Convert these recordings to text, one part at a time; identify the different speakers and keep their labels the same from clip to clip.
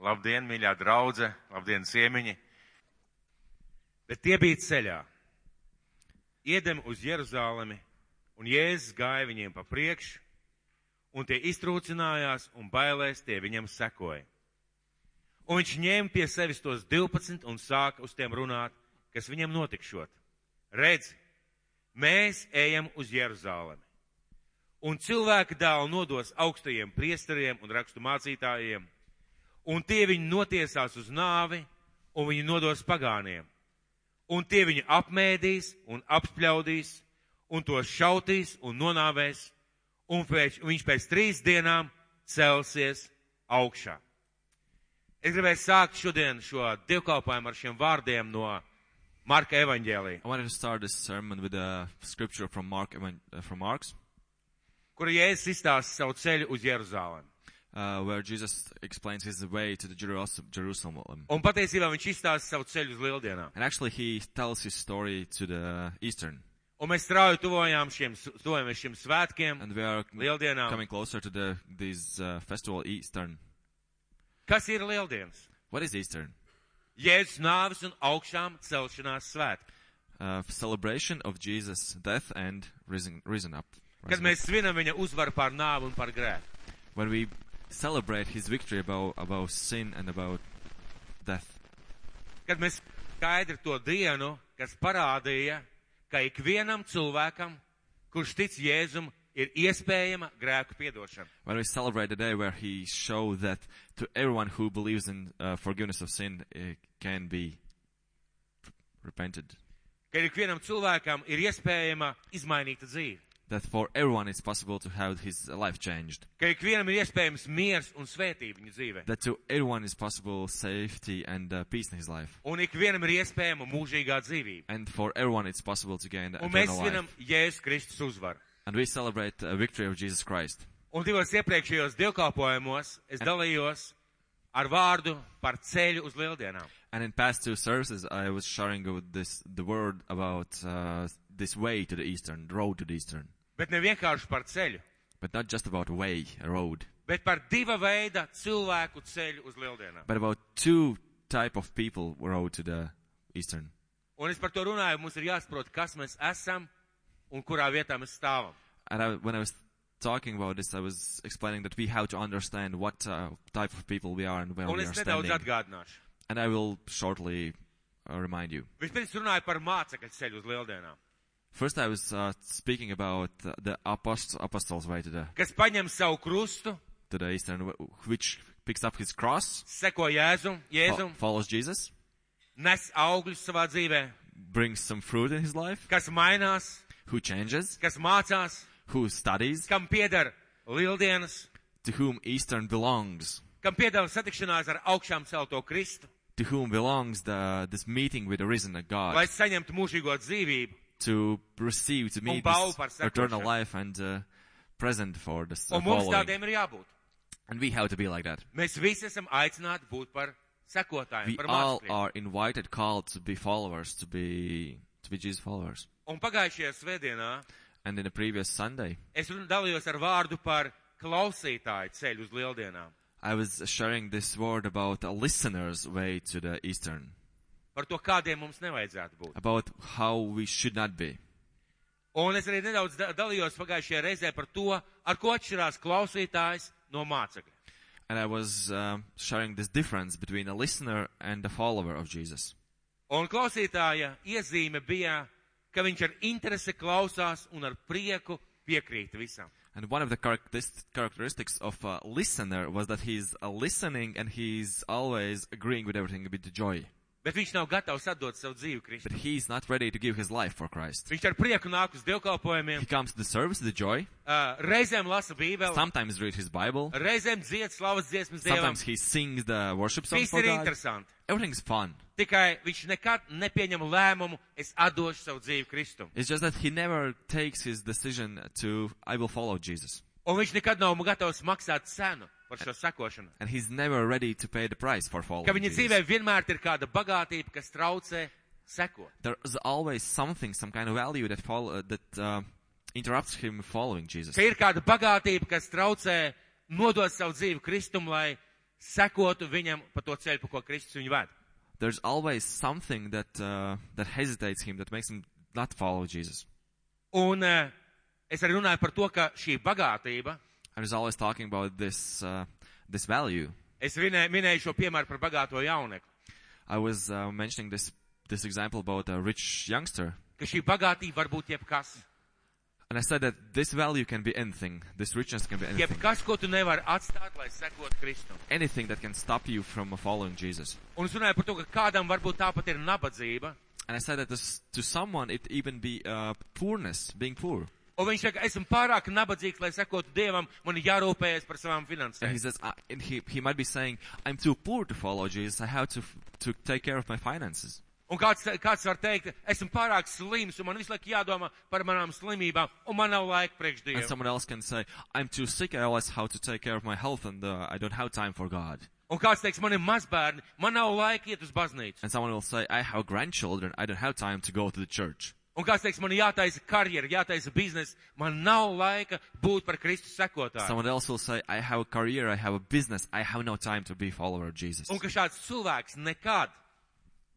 Speaker 1: Labdien, mīļā draudze, labdien, ciemiņi. Bet tie bija ceļā. Iedem uz Jeruzālemi, un Jēzus gāja viņiem pa priekšu, un tie iztrūcinājās, un bailēs tie viņam sekoja. Un viņš ņēma pie sevis tos 12 un sāka uz tiem runāt, kas viņam notikšot. Redzi, mēs ejam uz Jeruzālemi, un cilvēka dēlu nodos augstajiem priesteriem un rakstu mācītājiem, un tie viņu notiesās uz nāvi, un viņu nodos pagāniem. Un tie viņu apmēdīs un apspļaudīs, un tos šautīs un nonāvēs, un pēc, un viņš pēc trīs dienām celsies augšā. Es gribēju sākt šodien šo dievkalpojumu ar šiem vārdiem no Marka evaņģēlī,
Speaker 2: I wanted to start this sermon with a scripture from Mark, evan- uh, from Mark's,
Speaker 1: kur Jēzus izstāsta savu ceļu uz Jeruzālēm.
Speaker 2: uh, where Jesus explains his way to the Jerusalem. Jerusalem.
Speaker 1: Un patiesībā viņš izstāsta savu ceļu uz Lieldienām.
Speaker 2: And actually, he tells his story to the Eastern,
Speaker 1: Un mēs strauji tuvojām šiem, s- tuvojamies šiem svētkiem,
Speaker 2: and we are
Speaker 1: Lieldienām.
Speaker 2: coming closer to the these uh, festival Eastern.
Speaker 1: Kas ir Lieldienas?
Speaker 2: What is Eastern?
Speaker 1: Jēzus nāves un augšām celšanās svētki.
Speaker 2: Uh, celebration of Jesus' death and risen, risen up.
Speaker 1: Kad
Speaker 2: Risen up.
Speaker 1: mēs svinam viņa uzvaru pār nāvu un par grēku.
Speaker 2: When we celebrate his victory about about sin and about death.
Speaker 1: kad mēs skaidri to dienu, kas parādīja, ka ikvienam cilvēkam, kurš tic Jēzum, ir iespējama grēku piedošana.
Speaker 2: When we celebrate the day where he showed that to everyone who believes in uh, forgiveness of sin it can be repented.
Speaker 1: Ka ikvienam cilvēkam ir iespējama izmainīta dzīve.
Speaker 2: That for everyone it's possible to have his life changed.
Speaker 1: Ka ikvienam ir iespējams miers un svētība viņa dzīvē.
Speaker 2: That to everyone is possible safety and uh, peace in his life.
Speaker 1: Un ikvienam ir iespējama mūžīgā dzīvība.
Speaker 2: And for everyone it's possible to gain the
Speaker 1: Un mēs
Speaker 2: eternal
Speaker 1: svinam
Speaker 2: life.
Speaker 1: Jēzus Kristus uzvaru.
Speaker 2: And we celebrate the victory of Jesus Christ.
Speaker 1: Un divos iepriekšējos dievkalpojumos es dalījos ar vārdu par ceļu uz lieldienām.
Speaker 2: And in past two services I was sharing with this the word about uh, this way to the eastern, road to the eastern.
Speaker 1: Bet ne vienkārši par ceļu,
Speaker 2: But not just about way, a road.
Speaker 1: bet par diva veida cilvēku ceļu uz lieldienām.
Speaker 2: but about two type of people were owed to the eastern
Speaker 1: Un es par to runāju, mums ir jāsaprot, kas mēs esam un kurā vietā mēs stāvam.
Speaker 2: and I, when i was talking about this i was explaining that we have to understand what uh, type of people we are and where
Speaker 1: Un
Speaker 2: we
Speaker 1: es
Speaker 2: are
Speaker 1: nedaudz
Speaker 2: standing
Speaker 1: atgādināšu.
Speaker 2: and i will shortly uh, remind you
Speaker 1: Vispirms runāju par mācekļu ceļu uz lieldienām,
Speaker 2: first i was uh, speaking about uh, the apost- apostles way to the
Speaker 1: kas paņem savu krustu,
Speaker 2: to the eastern wh- which picks up his cross
Speaker 1: seko Jēzum,
Speaker 2: fo-
Speaker 1: Jēzum
Speaker 2: follows jesus
Speaker 1: nes augļus savā dzīvē,
Speaker 2: brings some fruit in his life
Speaker 1: kas mainās,
Speaker 2: who changes
Speaker 1: kas mācās,
Speaker 2: who studies
Speaker 1: kam pieder lieldienas,
Speaker 2: to whom eastern belongs
Speaker 1: kam pieder satikšanās ar augšām celto Kristu,
Speaker 2: to whom belongs the this meeting with the risen God
Speaker 1: lai saņemtu mūžīgo dzīvību
Speaker 2: to receive to meet
Speaker 1: balvu par
Speaker 2: this
Speaker 1: sekošanu.
Speaker 2: eternal life and uh, present for this uh,
Speaker 1: Un mums
Speaker 2: following.
Speaker 1: tādiem ir jābūt.
Speaker 2: And we have to be like that.
Speaker 1: Mēs visi esam aicināti būt par sekotājiem,
Speaker 2: We
Speaker 1: par
Speaker 2: all
Speaker 1: mācekļiem.
Speaker 2: are invited, called to be followers, to be to be Jesus followers.
Speaker 1: Un pagājušajā svētdienā
Speaker 2: And in the previous Sunday,
Speaker 1: Es run- dalījos ar vārdu par klausītāju ceļu uz lieldienām.
Speaker 2: I was sharing this word about a listener's way to the Eastern,
Speaker 1: Par to, kādiem mums nevajadzētu būt.
Speaker 2: about how we should not be.
Speaker 1: Un es arī nedaudz da- dalījos pagājušajā reizē par to, ar ko atšķirās klausītājs no mācekļa.
Speaker 2: And I was um, sharing this difference between a listener and a follower of Jesus.
Speaker 1: Un klausītāja iezīme bija, ka viņš ar interesi klausās un ar prieku piekrīt visam.
Speaker 2: And one of the characteris- characteristics of a listener was that he's uh, listening and he's always agreeing with everything with joy.
Speaker 1: Bet viņš nav gatavs atdot savu dzīvi
Speaker 2: But
Speaker 1: Kristum.
Speaker 2: he's not ready to give his life for Christ.
Speaker 1: Viņš ar prieku nāk uz dievkalpojumiem,
Speaker 2: He comes to the service, the joy,
Speaker 1: ā, reizēm lasa bībeli,
Speaker 2: sometimes read his Bible,
Speaker 1: reizēm dzied slavas dziesmas dievam.
Speaker 2: sometimes he sings the worship song
Speaker 1: Viss
Speaker 2: for
Speaker 1: ir
Speaker 2: God.
Speaker 1: interesanti.
Speaker 2: Everything's fun.
Speaker 1: Tikai viņš nekad nepieņem lēmumu, es atdošu savu dzīvi Kristum.
Speaker 2: It's just that he never takes his decision to, I will follow Jesus.
Speaker 1: Un viņš nekad nav gatavs maksāt cenu par šo sakošanu.
Speaker 2: And he's never ready to pay the price for
Speaker 1: Ka
Speaker 2: following
Speaker 1: viņa
Speaker 2: Jesus.
Speaker 1: dzīvē vienmēr ir kāda bagātība, kas traucē sekot.
Speaker 2: There's always something, some kind of value that, follow, that uh, interrupts him following Jesus.
Speaker 1: Ka ir kāda bagātība, kas traucē nodot savu dzīvi Kristum, lai sekotu viņam pa to ceļu, pa ko Kristus viņu ved.
Speaker 2: There's always something that uh, that hesitates him, that makes him not follow Jesus.
Speaker 1: Un eh, es arī runāju par to, ka šī bagātība,
Speaker 2: I was always talking about this uh, this value.
Speaker 1: es vinē- minēju šo piemēru par bagāto jaunieku,
Speaker 2: I was uh, mentioning this this example about a rich youngster,
Speaker 1: ka šī bagātība var būt jebkas.
Speaker 2: and I said that this value can be anything. This richness can be anything.
Speaker 1: Jebkas, ko tu nevari atstāt, lai sekotu Kristum.
Speaker 2: Anything that can stop you from following Jesus.
Speaker 1: Un es runāju par to, ka kādam varbūt tāpat ir nabadzība,
Speaker 2: And I said that this, to someone it even be uh, poorness, being poor.
Speaker 1: un viņš saka, esmu pārāk nabadzīgs, lai sekotu Dievam, man ir jārūpējas par savām
Speaker 2: And he
Speaker 1: finansēm.
Speaker 2: says, I, and he, he might be saying, I'm too poor to follow Jesus. I have to, f- to take care of my finances.
Speaker 1: Un kāds, kāds var teikt, esmu pārāk slims, un man visu laiku jādomā par manām slimībām, un man nav laika priekš
Speaker 2: And
Speaker 1: Dievu.
Speaker 2: someone else can say, I'm too sick. I always have to take care of my health and uh, I don't have time for God.
Speaker 1: Un kāds teiks, man ir mazbērni, man nav laika iet uz baznīcu.
Speaker 2: And someone will say, I have grandchildren. I don't have time to go to the church.
Speaker 1: Un kāds teiks, man ir jātaisa karjera, jātaisa biznesa, man nav laika būt par Kristus sekotāju.
Speaker 2: Someone else will say, I have a career. I have a business. I have no time to be a follower of Jesus.
Speaker 1: Un ka šāds cilvēks nekad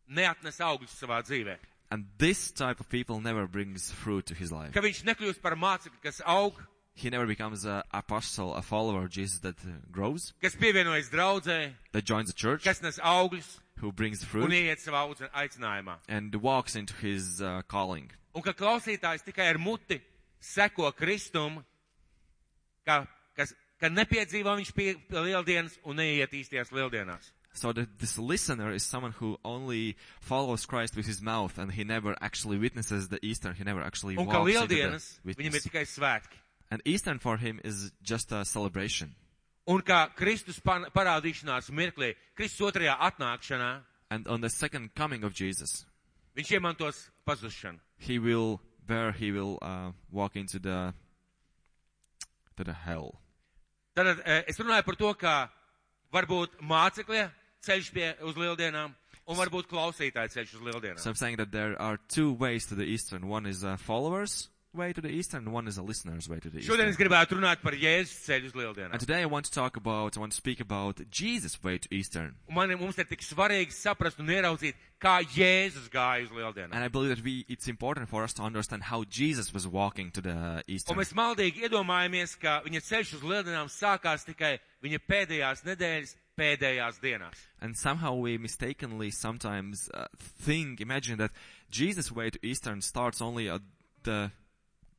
Speaker 1: neatnes augļus savā dzīvē.
Speaker 2: And this type of people never brings fruit to his life.
Speaker 1: Ka viņš nekļūst par mācekli, kas aug,
Speaker 2: He never becomes an apostle, a follower of Jesus that uh, grows,
Speaker 1: kas pievienojas draudzē,
Speaker 2: that joins the church,
Speaker 1: kas nes augļus
Speaker 2: who brings
Speaker 1: un
Speaker 2: fruit
Speaker 1: ieiet savā audz- aicinājumā.
Speaker 2: and walks into his uh, calling.
Speaker 1: Un ka klausītājs tikai ar muti seko Kristum, ka, kas, ka nepiedzīvo viņš pie pie lieldienas un neiet īstajās lieldienās.
Speaker 2: So that this listener is someone who only follows Christ with his mouth and he never actually witnesses the Easter. He never actually
Speaker 1: Un ka
Speaker 2: walks into the
Speaker 1: lieldienas viņam ir
Speaker 2: witness.
Speaker 1: tikai svētki.
Speaker 2: And Eastern for him is just a celebration.
Speaker 1: Un kā Kristus pan- parādīšanās mirklī, Kristus otrajā atnākšanā,
Speaker 2: And on the second coming of Jesus,
Speaker 1: viņš iemantos pazušanu.
Speaker 2: he will, there he will uh, walk into the, to the hell.
Speaker 1: Tad eh, es runāju par to, ka varbūt mācekļie ceļš pie uz lieldienām, un varbūt klausītāji ceļš uz
Speaker 2: So
Speaker 1: lieldienām.
Speaker 2: I'm saying that there are two ways to the Eastern. One is a follower's way to the Eastern, one is a listener's way to the
Speaker 1: Šodien es
Speaker 2: Eastern.
Speaker 1: gribētu runāt par Jēzus ceļu uz
Speaker 2: And
Speaker 1: lieldienām.
Speaker 2: today I want to talk about, I want to speak about Jesus' way to Eastern.
Speaker 1: Un Man, mums ir tik svarīgi saprast un ieraudzīt, kā Jēzus gāja uz lieldienām.
Speaker 2: And I believe that we, it's important for us to understand how Jesus was walking to the
Speaker 1: Un
Speaker 2: Eastern.
Speaker 1: mēs maldīgi iedomājamies, ka viņa ceļš uz lieldienām sākās tikai viņa pēdējās nedēļas, pēdējās dienās.
Speaker 2: And somehow we mistakenly sometimes uh, think, imagine that Jesus' way to Eastern starts only at the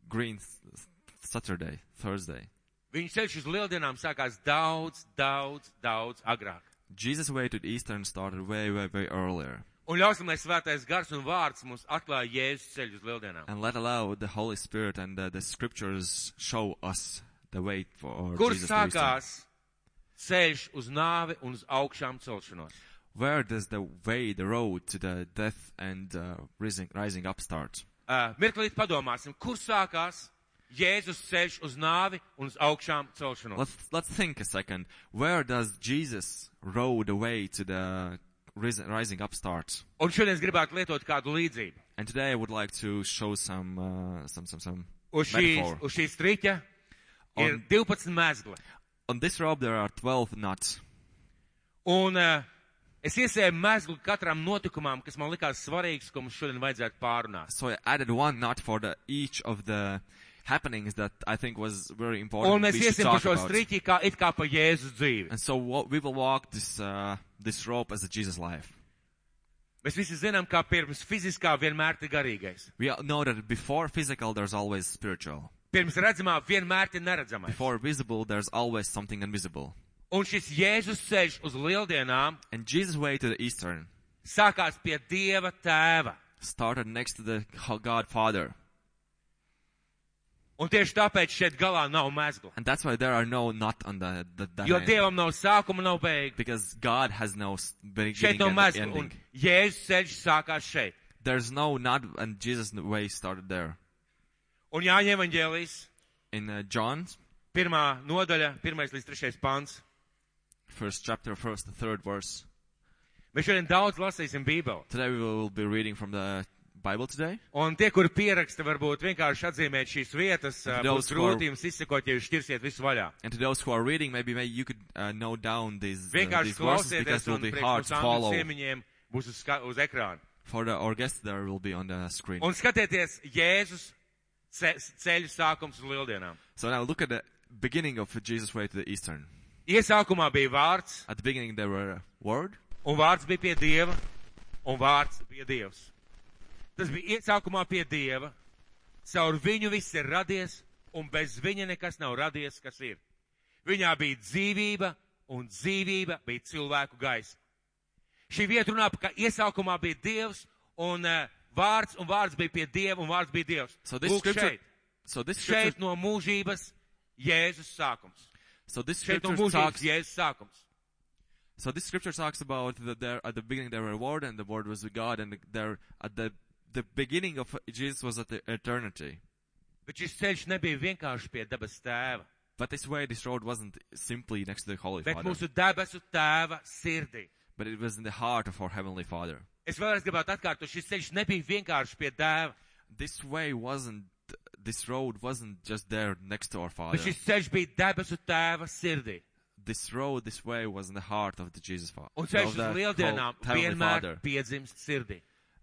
Speaker 2: green th- Saturday, Thursday.
Speaker 1: Viņa ceļš uz lieldienām sākās daudz, daudz, daudz agrāk.
Speaker 2: Jesus' way to the Eastern started way, way, way earlier.
Speaker 1: Un ļausim, lai svētais gars un vārds mums atklāja Jēzus ceļu uz lieldienām.
Speaker 2: And let allow the Holy Spirit and uh, the scriptures show us the way for
Speaker 1: Kur
Speaker 2: Jesus to Eastern.
Speaker 1: sākās ceļš uz nāvi un uz augšām celšanos?
Speaker 2: Where does the way, the road to the death and uh, rising, rising up start?
Speaker 1: Uh, Mirklīt padomāsim, kur sākās Jēzus ceļš uz nāvi un uz augšām celšanos?
Speaker 2: Let's let's think a second. Where does Jesus rode away to the risen, rising up start?
Speaker 1: Un šodien es gribētu lietot kādu līdzību.
Speaker 2: And today I would like to show some uh, some some some
Speaker 1: Uz šīs,
Speaker 2: metaphor.
Speaker 1: uz šīs triķa ir
Speaker 2: Un-
Speaker 1: 12 mēzgli.
Speaker 2: On this rope there are twelve knots,
Speaker 1: Un uh, es iesēju mēzgli katram notikumam, kas man likās svarīgs, ko mums šodien vajadzētu pārunāt.
Speaker 2: so I added one knot for the each of the happenings that I think was very important.
Speaker 1: Un mēs
Speaker 2: we should
Speaker 1: iesim pa
Speaker 2: talk
Speaker 1: šo
Speaker 2: about.
Speaker 1: striķi kā it kā pa Jēzus dzīvi.
Speaker 2: And so what, we will walk this uh, this rope as a Jesus life.
Speaker 1: Mēs visi zinām, ka pirms fiziskā vienmēr ir garīgais.
Speaker 2: We all know that before physical there's always spiritual.
Speaker 1: Pirms redzamā vienmēr ir neredzamais.
Speaker 2: Before visible there's always something invisible.
Speaker 1: Un šis Jēzus ceļš uz lieldienām
Speaker 2: And Jesus' way to the eastern
Speaker 1: sākās pie Dieva tēva.
Speaker 2: started next to the Godfather.
Speaker 1: Un tieši tāpēc šeit galā nav mezgla.
Speaker 2: And that's why there are no not on the, the, the
Speaker 1: Jo
Speaker 2: hand.
Speaker 1: Dievam nav sākuma, nav beigas.
Speaker 2: Because God has no s-
Speaker 1: Šeit
Speaker 2: beginning
Speaker 1: nav
Speaker 2: and
Speaker 1: mezgla. Un
Speaker 2: ending.
Speaker 1: Jēzus ceļš sākās šeit.
Speaker 2: There's no not and Jesus' way started there.
Speaker 1: Un Jāņa evaņģēlīs,
Speaker 2: In uh, John,
Speaker 1: pirmā nodaļa, pirmais līdz trešais pants.
Speaker 2: first chapter, first to third verse.
Speaker 1: Mēs šodien daudz lasīsim Bībeli.
Speaker 2: Today we will be reading from the Bible today.
Speaker 1: Un tie, kur pieraksta, varbūt vienkārši atzīmēt šīs vietas, ā, būs
Speaker 2: Daudz ko-
Speaker 1: grūti jums izsekot, ja jūs šķirsiet visu vaļā.
Speaker 2: And to those who are reading, maybe, maybe you could uh, note down these, uh,
Speaker 1: Vienkārši
Speaker 2: these verses
Speaker 1: klausieties
Speaker 2: because it will
Speaker 1: un
Speaker 2: be hard
Speaker 1: priekš
Speaker 2: to
Speaker 1: mūsu
Speaker 2: follow
Speaker 1: ciemiņiem būs uz, ska- uz ekrāna.
Speaker 2: for the, our guests there will be on the screen.
Speaker 1: Un skatieties Jēzus ce ceļu sākums un lieldienām.
Speaker 2: So now look at the beginning of Jesus' way to the Eastern.
Speaker 1: Iesākumā bija vārds,
Speaker 2: At the beginning there were a word,
Speaker 1: un vārds bija pie Dieva, un vārds bija Dievs. Tas bija iesākumā pie Dieva. Caur viņu viss ir radies, un bez viņa nekas nav radies, kas ir. Viņā bija dzīvība, un dzīvība bija cilvēku gaisma. Šī vieta runā, ka iesākumā bija Dievs, un uh, vārds, un vārds bija pie Dieva, un vārds bija Dievs.
Speaker 2: So this
Speaker 1: Lūk,
Speaker 2: scripture-
Speaker 1: šeit,
Speaker 2: so this
Speaker 1: šeit
Speaker 2: scripture,
Speaker 1: no mūžības Jēzus sākums.
Speaker 2: so this
Speaker 1: Šeit no
Speaker 2: scripture
Speaker 1: mūžības
Speaker 2: talks,
Speaker 1: Jēzus sākums.
Speaker 2: so this scripture talks about that there at the beginning there were a word, and the word was with God, and there at the the beginning of Jesus was at the eternity.
Speaker 1: Bet šis ceļš nebija vienkārši pie dabas tēva,
Speaker 2: But this way, this road wasn't simply next to the Holy
Speaker 1: bet
Speaker 2: Father,
Speaker 1: mūsu debesu tēva sirdī.
Speaker 2: but it was in the heart of our Heavenly Father.
Speaker 1: Es vēlreiz gribētu atkārtot, šis ceļš nebija vienkārši pie tēva,
Speaker 2: This way wasn't, this road wasn't just there next to our Father.
Speaker 1: bet šis ceļš bija debesu tēva sirdī.
Speaker 2: This road, this way was in the heart of the Jesus Father,
Speaker 1: Un ceļš
Speaker 2: of
Speaker 1: uz
Speaker 2: the
Speaker 1: lieldienām
Speaker 2: whole Heavenly
Speaker 1: vienmēr
Speaker 2: Father.
Speaker 1: piedzimst sirdī.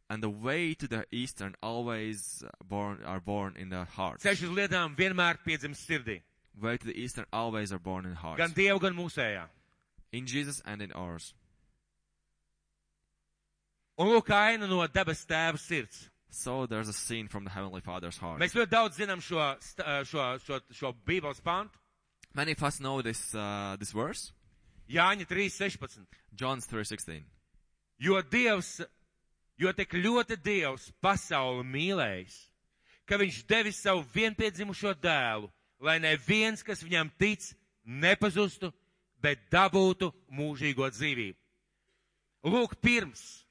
Speaker 2: And the way to the Eastern always uh, born are born in the heart.
Speaker 1: Ceļš uz lietām vienmēr piedzimst sirdī.
Speaker 2: Way to the Eastern always are born in hearts.
Speaker 1: Gan Dievu, gan mūsējā.
Speaker 2: In Jesus and in ours.
Speaker 1: Un lūk, aina no debes tēva sirds.
Speaker 2: So there's a scene from the Heavenly Father's heart.
Speaker 1: Mēs ļoti daudz zinām šo, st- šo, šo, šo Bībeles pantu.
Speaker 2: Many of us know this uh, this verse,
Speaker 1: Jāņa 3.16.
Speaker 2: John 3:16.
Speaker 1: Jo Dievs, jo tik ļoti Dievs pasauli mīlējis, ka viņš devis savu vienpiedzimušo dēlu, lai neviens, kas viņam tic, nepazustu, bet dabūtu mūžīgo dzīvību. Lūk, pirms,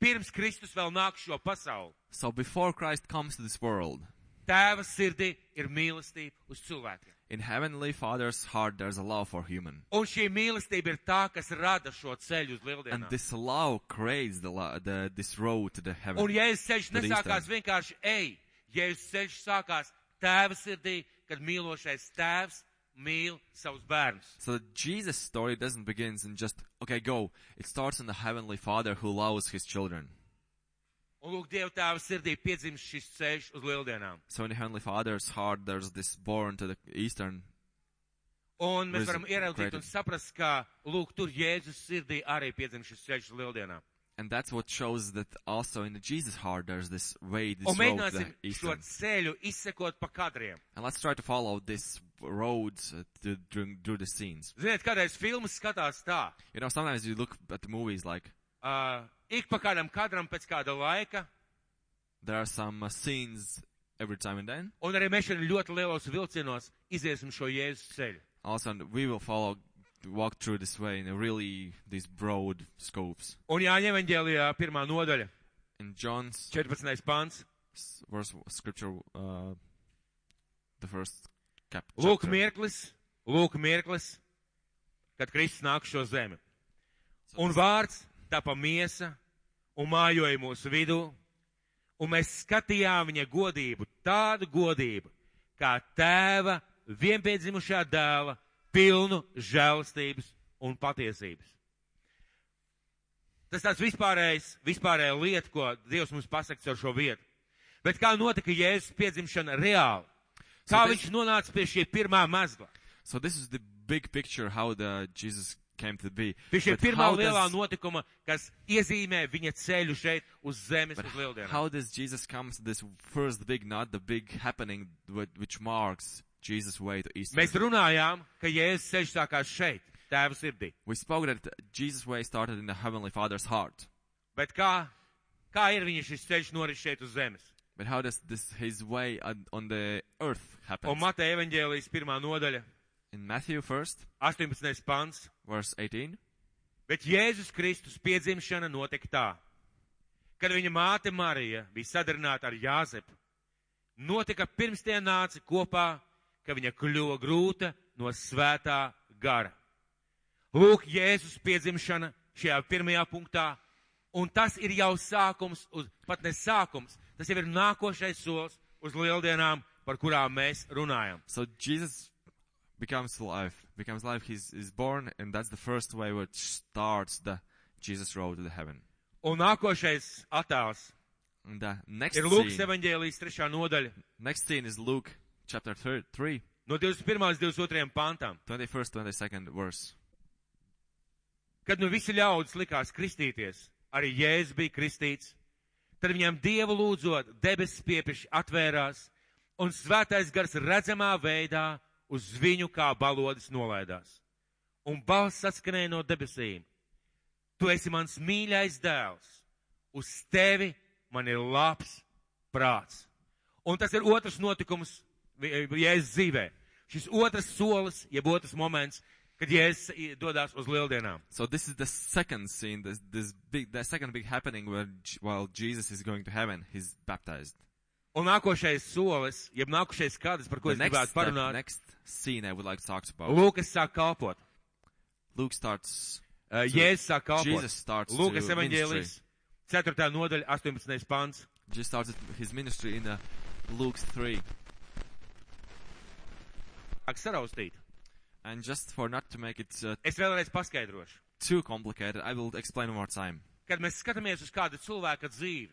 Speaker 1: pirms Kristus vēl nāk šo pasauli,
Speaker 2: So before Christ comes to this world,
Speaker 1: tēva sirdī ir mīlestība uz cilvēkiem.
Speaker 2: in Heavenly Father's heart there's a love for human,
Speaker 1: Un šī mīlestība ir tā, kas rada šo ceļu uz
Speaker 2: and
Speaker 1: lieldienām.
Speaker 2: this love creates the, lo- the this road to the heaven.
Speaker 1: Un Jēzus ceļš
Speaker 2: Tad
Speaker 1: nesākās
Speaker 2: īstenībā.
Speaker 1: vienkārši ej. Jēzus ceļš sākās tēva sirdī, kad mīlošais tēvs mīl savus bērnus.
Speaker 2: So the Jesus story doesn't begin in just okay go. It starts in the heavenly Father who loves his children.
Speaker 1: Un lūk, Dieva tēva sirdī piedzimst šis ceļš uz lieldienām.
Speaker 2: So in the heavenly Father's heart, there's this born to the eastern.
Speaker 1: Un mēs
Speaker 2: Res-
Speaker 1: varam ieraudzīt un
Speaker 2: created.
Speaker 1: saprast, ka, lūk, tur Jēzus sirdī arī piedzimst šis ceļš uz lieldienām.
Speaker 2: And that's what shows that also in the Jesus heart there's this way, this
Speaker 1: Un
Speaker 2: road to
Speaker 1: mēģināsim
Speaker 2: the
Speaker 1: šo
Speaker 2: eastern.
Speaker 1: ceļu izsekot pa kadriem.
Speaker 2: And let's try to follow this road uh, to, during, through the scenes.
Speaker 1: Ziniet, kādreiz filmas skatās tā.
Speaker 2: You know, sometimes you look at the movies like
Speaker 1: Uh, ik pa kādam kadram pēc kāda laika,
Speaker 2: there are some uh, scenes every time and then.
Speaker 1: un arī mēs šodien ļoti lielos vilcienos iziesim šo Jēzus ceļu.
Speaker 2: Also, and we will follow, walk through this way in a really these broad scopes.
Speaker 1: Un Jāņa evanģēlijā pirmā nodaļa,
Speaker 2: In John's
Speaker 1: 14. pants.
Speaker 2: s- verse scripture uh, the first cap-
Speaker 1: Lūk,
Speaker 2: chapter.
Speaker 1: mirklis, lūk, mirklis, kad Kristus nāk šo zemi.
Speaker 2: So
Speaker 1: Un
Speaker 2: this-
Speaker 1: vārds tapa miesa un mājoja mūsu vidū, un mēs skatījām viņa godību, tādu godību, kā tēva vienpiedzimušā dēla, pilnu žēlstības un patiesības. Tas tāds vispārējais, vispārējā lieta, ko Dievs mums pasaka ar šo vietu. Bet kā notika Jēzus piedzimšana reāli? Kā
Speaker 2: So this-
Speaker 1: viņš nonāca pie šī pirmā mazgla,
Speaker 2: so this is the big picture how the Jesus came to be.
Speaker 1: pie šī
Speaker 2: But
Speaker 1: pirmā
Speaker 2: how
Speaker 1: lielā
Speaker 2: does-
Speaker 1: notikuma, kas iezīmē viņa ceļu šeit uz zemes,
Speaker 2: but
Speaker 1: uz lieldienām?
Speaker 2: how does Jesus come to this first big not the big happening whi- which marks Jesus' way to Easter?
Speaker 1: Mēs runājām, ka Jēzus ceļš sākās šeit, tēva sirdī.
Speaker 2: We spoke that Jesus' way started in the Heavenly Father's heart.
Speaker 1: Bet kā, kā ir viņa šis ceļš noris šeit uz zemes?
Speaker 2: But how does this his way on, on the earth happen?
Speaker 1: Un Mateja evaņģēlijas pirmā nodaļa,
Speaker 2: in Matthew first,
Speaker 1: 18. pants.
Speaker 2: verse 18.
Speaker 1: Bet Jēzus Kristus piedzimšana notika tā, kad viņa māte Marija bija sadarināta ar Jāzepu. Notika pirms tie nāca kopā, ka viņa kļuva grūta no svētā gara. Lūk, Jēzus piedzimšana šajā pirmajā punktā Un tas ir jau sākums, uz, pat ne sākums, tas jau ir nākošais solis uz lieldienām, par kurām mēs runājam.
Speaker 2: So Jesus becomes life, becomes life. He's is born, and that's the first way which starts the Jesus road to the heaven.
Speaker 1: Un nākošais attēls
Speaker 2: And the next
Speaker 1: ir Lūks
Speaker 2: scene,
Speaker 1: evaņģēlijas trešā nodaļa
Speaker 2: next scene is Luke chapter thir- 3,
Speaker 1: no 21. līdz 22. pantam.
Speaker 2: 21st, 22nd verse.
Speaker 1: Kad nu visi ļaudis likās kristīties, arī Jēzus bija kristīts, tad viņam dievu lūdzot, debesis piepiši atvērās, un svētais gars redzamā veidā uz viņu kā balodis nolaidās. Un balss saskanēja no debesīm: Tu esi mans mīļais dēls, uz tevi man ir labs prāts. Un tas ir otrs notikums vi- Jēzus dzīvē. Šis otrs solis, jeb otrs moments, kad Jēzus i- dodas uz lieldienām.
Speaker 2: So this is the second scene, this this big, the second big happening where J- while Jesus is going to heaven, he's baptized.
Speaker 1: Un nākošais solis, jeb nākošais skats, par ko
Speaker 2: The
Speaker 1: es
Speaker 2: next,
Speaker 1: gribētu
Speaker 2: step,
Speaker 1: parunāt,
Speaker 2: next scene I would like to talk about.
Speaker 1: Lūkas sāk kalpot.
Speaker 2: Luke starts.
Speaker 1: Uh,
Speaker 2: to-
Speaker 1: Jēzus sāk
Speaker 2: Jesus
Speaker 1: kalpot.
Speaker 2: starts to
Speaker 1: Lūkas
Speaker 2: ministry.
Speaker 1: evaņģēlijas 4. nodaļa, 18. pants.
Speaker 2: just started his ministry in the Luke 3.
Speaker 1: Ak, saraustīt.
Speaker 2: And just for not to make it uh,
Speaker 1: Es vēlreiz paskaidrošu.
Speaker 2: too complicated, I will explain one more time.
Speaker 1: Kad mēs skatāmies uz kādu cilvēku dzīvi,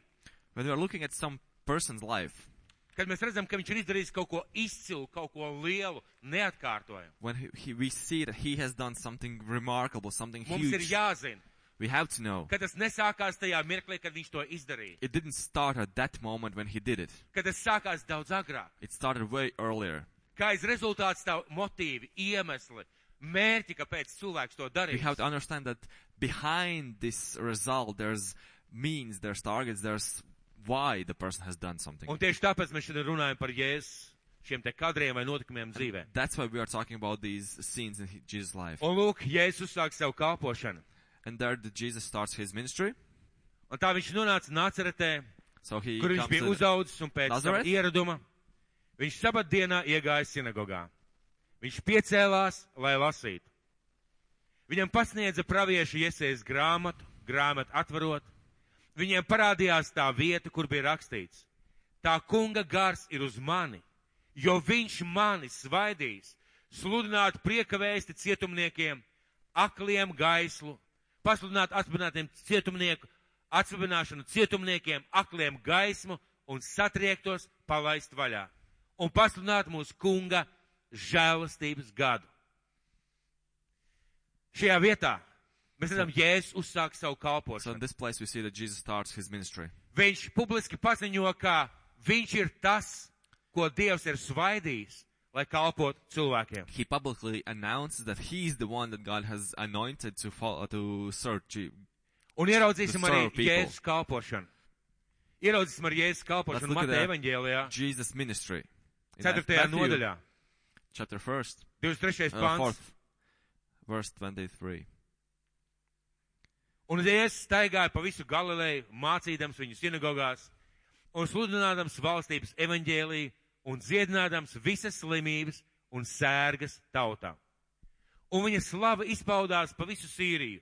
Speaker 2: When we are looking at some person's life,
Speaker 1: kad mēs redzam, ka viņš ir izdarījis kaut ko izcilu, kaut ko lielu, neatkārtojumu,
Speaker 2: when he, he, we see that he has done something remarkable, something
Speaker 1: mums ir
Speaker 2: huge,
Speaker 1: jāzina,
Speaker 2: we have to know.
Speaker 1: ka tas nesākās tajā mirklī, kad viņš to izdarīja.
Speaker 2: It didn't start at that moment when he did it.
Speaker 1: Ka tas sākās daudz agrāk.
Speaker 2: It started way earlier.
Speaker 1: Kā aiz rezultāts tā motīvi, iemesli, mērķi, kāpēc cilvēks to
Speaker 2: We
Speaker 1: darīja.
Speaker 2: have to understand that behind this result, there's means, there's targets, there's why the person has done something.
Speaker 1: Un tieši tāpēc mēs šodien runājam par jēzus šiem te kadriem vai notikumiem dzīvē.
Speaker 2: That's why we are talking about these scenes in he- Jesus' life.
Speaker 1: Un lūk, jēzus uzsāk savu kalpošanu.
Speaker 2: And there the Jesus starts his ministry.
Speaker 1: Un tā viņš nonāca Nāceretē,
Speaker 2: So he
Speaker 1: kur viņš
Speaker 2: comes
Speaker 1: bija
Speaker 2: to-
Speaker 1: uzaudzis un pēc sava
Speaker 2: Nazaret?
Speaker 1: ieraduma. Viņš sabat dienā iegāja sinagogā. Viņš piecēlās, lai lasītu. Viņam pasniedza praviešu iesējas grāmatu, grāmatu atverot. Viņiem parādījās tā vieta, kur bija rakstīts. Tā kunga gars ir uz mani, jo viņš mani svaidīs, sludināt priekavēsti cietumniekiem, akliem gaislu, pasludināt atbrīvotiem cietumnieku, atsvabināšanu cietumniekiem, akliem gaismu un satriektos palaist vaļā. Un pasludināt mūsu kunga žēlastības gadu. Šajā vietā mēs redzam, Jēzus uzsāk savu
Speaker 2: So in
Speaker 1: kalpošanu.
Speaker 2: this place we see that Jesus starts his ministry.
Speaker 1: Viņš publiski paziņo, ka viņš ir tas, ko Dievs ir svaidījis, lai kalpotu cilvēkiem.
Speaker 2: He publicly announces that he is the one that God has anointed to follow, to serve. Je-
Speaker 1: Un ieraudzīsim
Speaker 2: The
Speaker 1: arī
Speaker 2: serve people.
Speaker 1: Jēzus kalpošanu. Ieraudzīsim arī Jēzus
Speaker 2: Let's
Speaker 1: kalpošanu
Speaker 2: look at
Speaker 1: Mateja
Speaker 2: that.
Speaker 1: evaņģēlijā,
Speaker 2: Jesus ministry. In
Speaker 1: 4.
Speaker 2: Matthew,
Speaker 1: nodaļā,
Speaker 2: Chapter first,
Speaker 1: 23.
Speaker 2: uh,
Speaker 1: pāns.
Speaker 2: fourth, verse twenty-three.
Speaker 1: Un Jēzus staigāja pa visu Galileju, mācīdams viņu sinagogās, un sludinādams valstības evaņģēlīju, un dziedinādams visas slimības un sērgas tautā. Un viņa slava izpaudās pa visu Sīriju.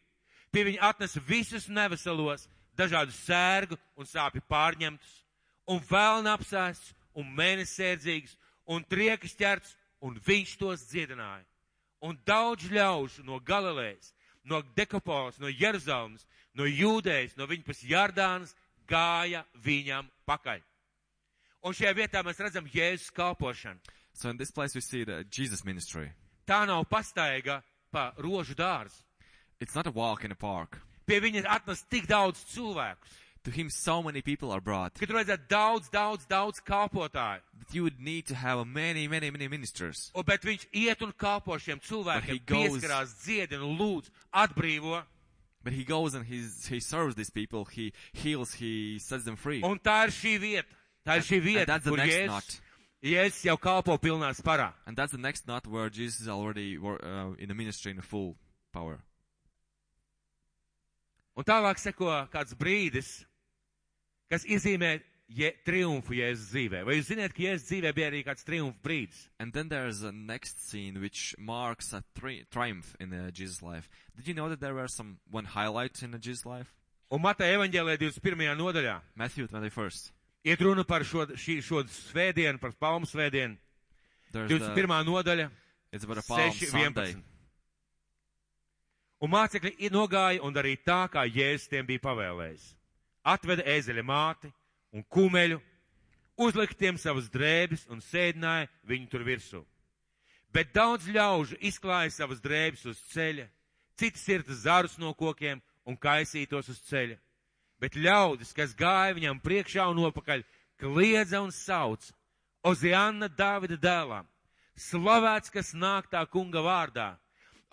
Speaker 1: Pie viņa atnesa visus neveselos, dažādu sērgu un sāpju pārņemtus, un vēlna apsēsts, un mēnesērdzīgs, un triekas ķerts, un viņš tos dziedināja un daudz ļaužu no Galilejas, no Dekapolas, no Jeruzalemes, no Jūdejas, no viņa puses Jardānas gāja viņam pakaļ. Un šajā vietā mēs redzam Jēzus kalpošanu.
Speaker 2: So in this place we see the Jesus ministry.
Speaker 1: Tā nav pastaiga pa rožu dārzu.
Speaker 2: It's not a walk in a park.
Speaker 1: Pie viņa atnes tik daudz cilvēku,
Speaker 2: To him, so many people are brought
Speaker 1: ka tur vajadzētu daudz, daudz, daudz kalpotāju.
Speaker 2: that you would need to have many, many, many ministers.
Speaker 1: Un, bet viņš iet un kalpo šiem cilvēkiem,
Speaker 2: But he goes-
Speaker 1: pieskarās, dziedina, lūdz, atbrīvo.
Speaker 2: But he goes and he's, he serves these people. He heals. He sets them free.
Speaker 1: Un tā ir šī vieta. Tā ir šī
Speaker 2: and
Speaker 1: vieta,
Speaker 2: that's the
Speaker 1: kur
Speaker 2: next
Speaker 1: Jēzus,
Speaker 2: knot.
Speaker 1: Jēzus jau kalpo pilnā sparā.
Speaker 2: And that's the next knot where Jesus is already wor- uh, in the ministry in full power.
Speaker 1: Un tālāk seko kāds brīdis, kas iezīmē je, triumfu Jēzus dzīvē. Vai jūs zināt, ka Jēzus dzīvē bija arī kāds triumfu brīdis?
Speaker 2: And then there's a next scene which marks a tri- triumph in uh, Jesus' life. Did you know that there were some one highlight in uh, Jesus' life?
Speaker 1: Un Mateja evaņģēlē 21. nodaļā
Speaker 2: Matthew 21st.
Speaker 1: iet runa par šo, šī, šo svētdienu, par palmu svētdienu.
Speaker 2: There's the,
Speaker 1: 21. nodaļa,
Speaker 2: it's about a Palm
Speaker 1: 6,
Speaker 2: Sunday.
Speaker 1: 11. Un mācekļi i- nogāja un darīja tā, kā Jēzus tiem bija pavēlējis. Atveda ēzeļa māti un kumeļu, uzlika tiem savas drēbes un sēdināja viņu tur virsū. Bet daudz ļaužu izklāja savas drēbes uz ceļa, citi sirta zarus no kokiem un kaisītos uz ceļa. Bet ļaudis, kas gāja viņam priekšā un opakaļ, kliedza un sauca: Oziāna Dāvida dēlā, slavēts, kas nāk tā kunga vārdā,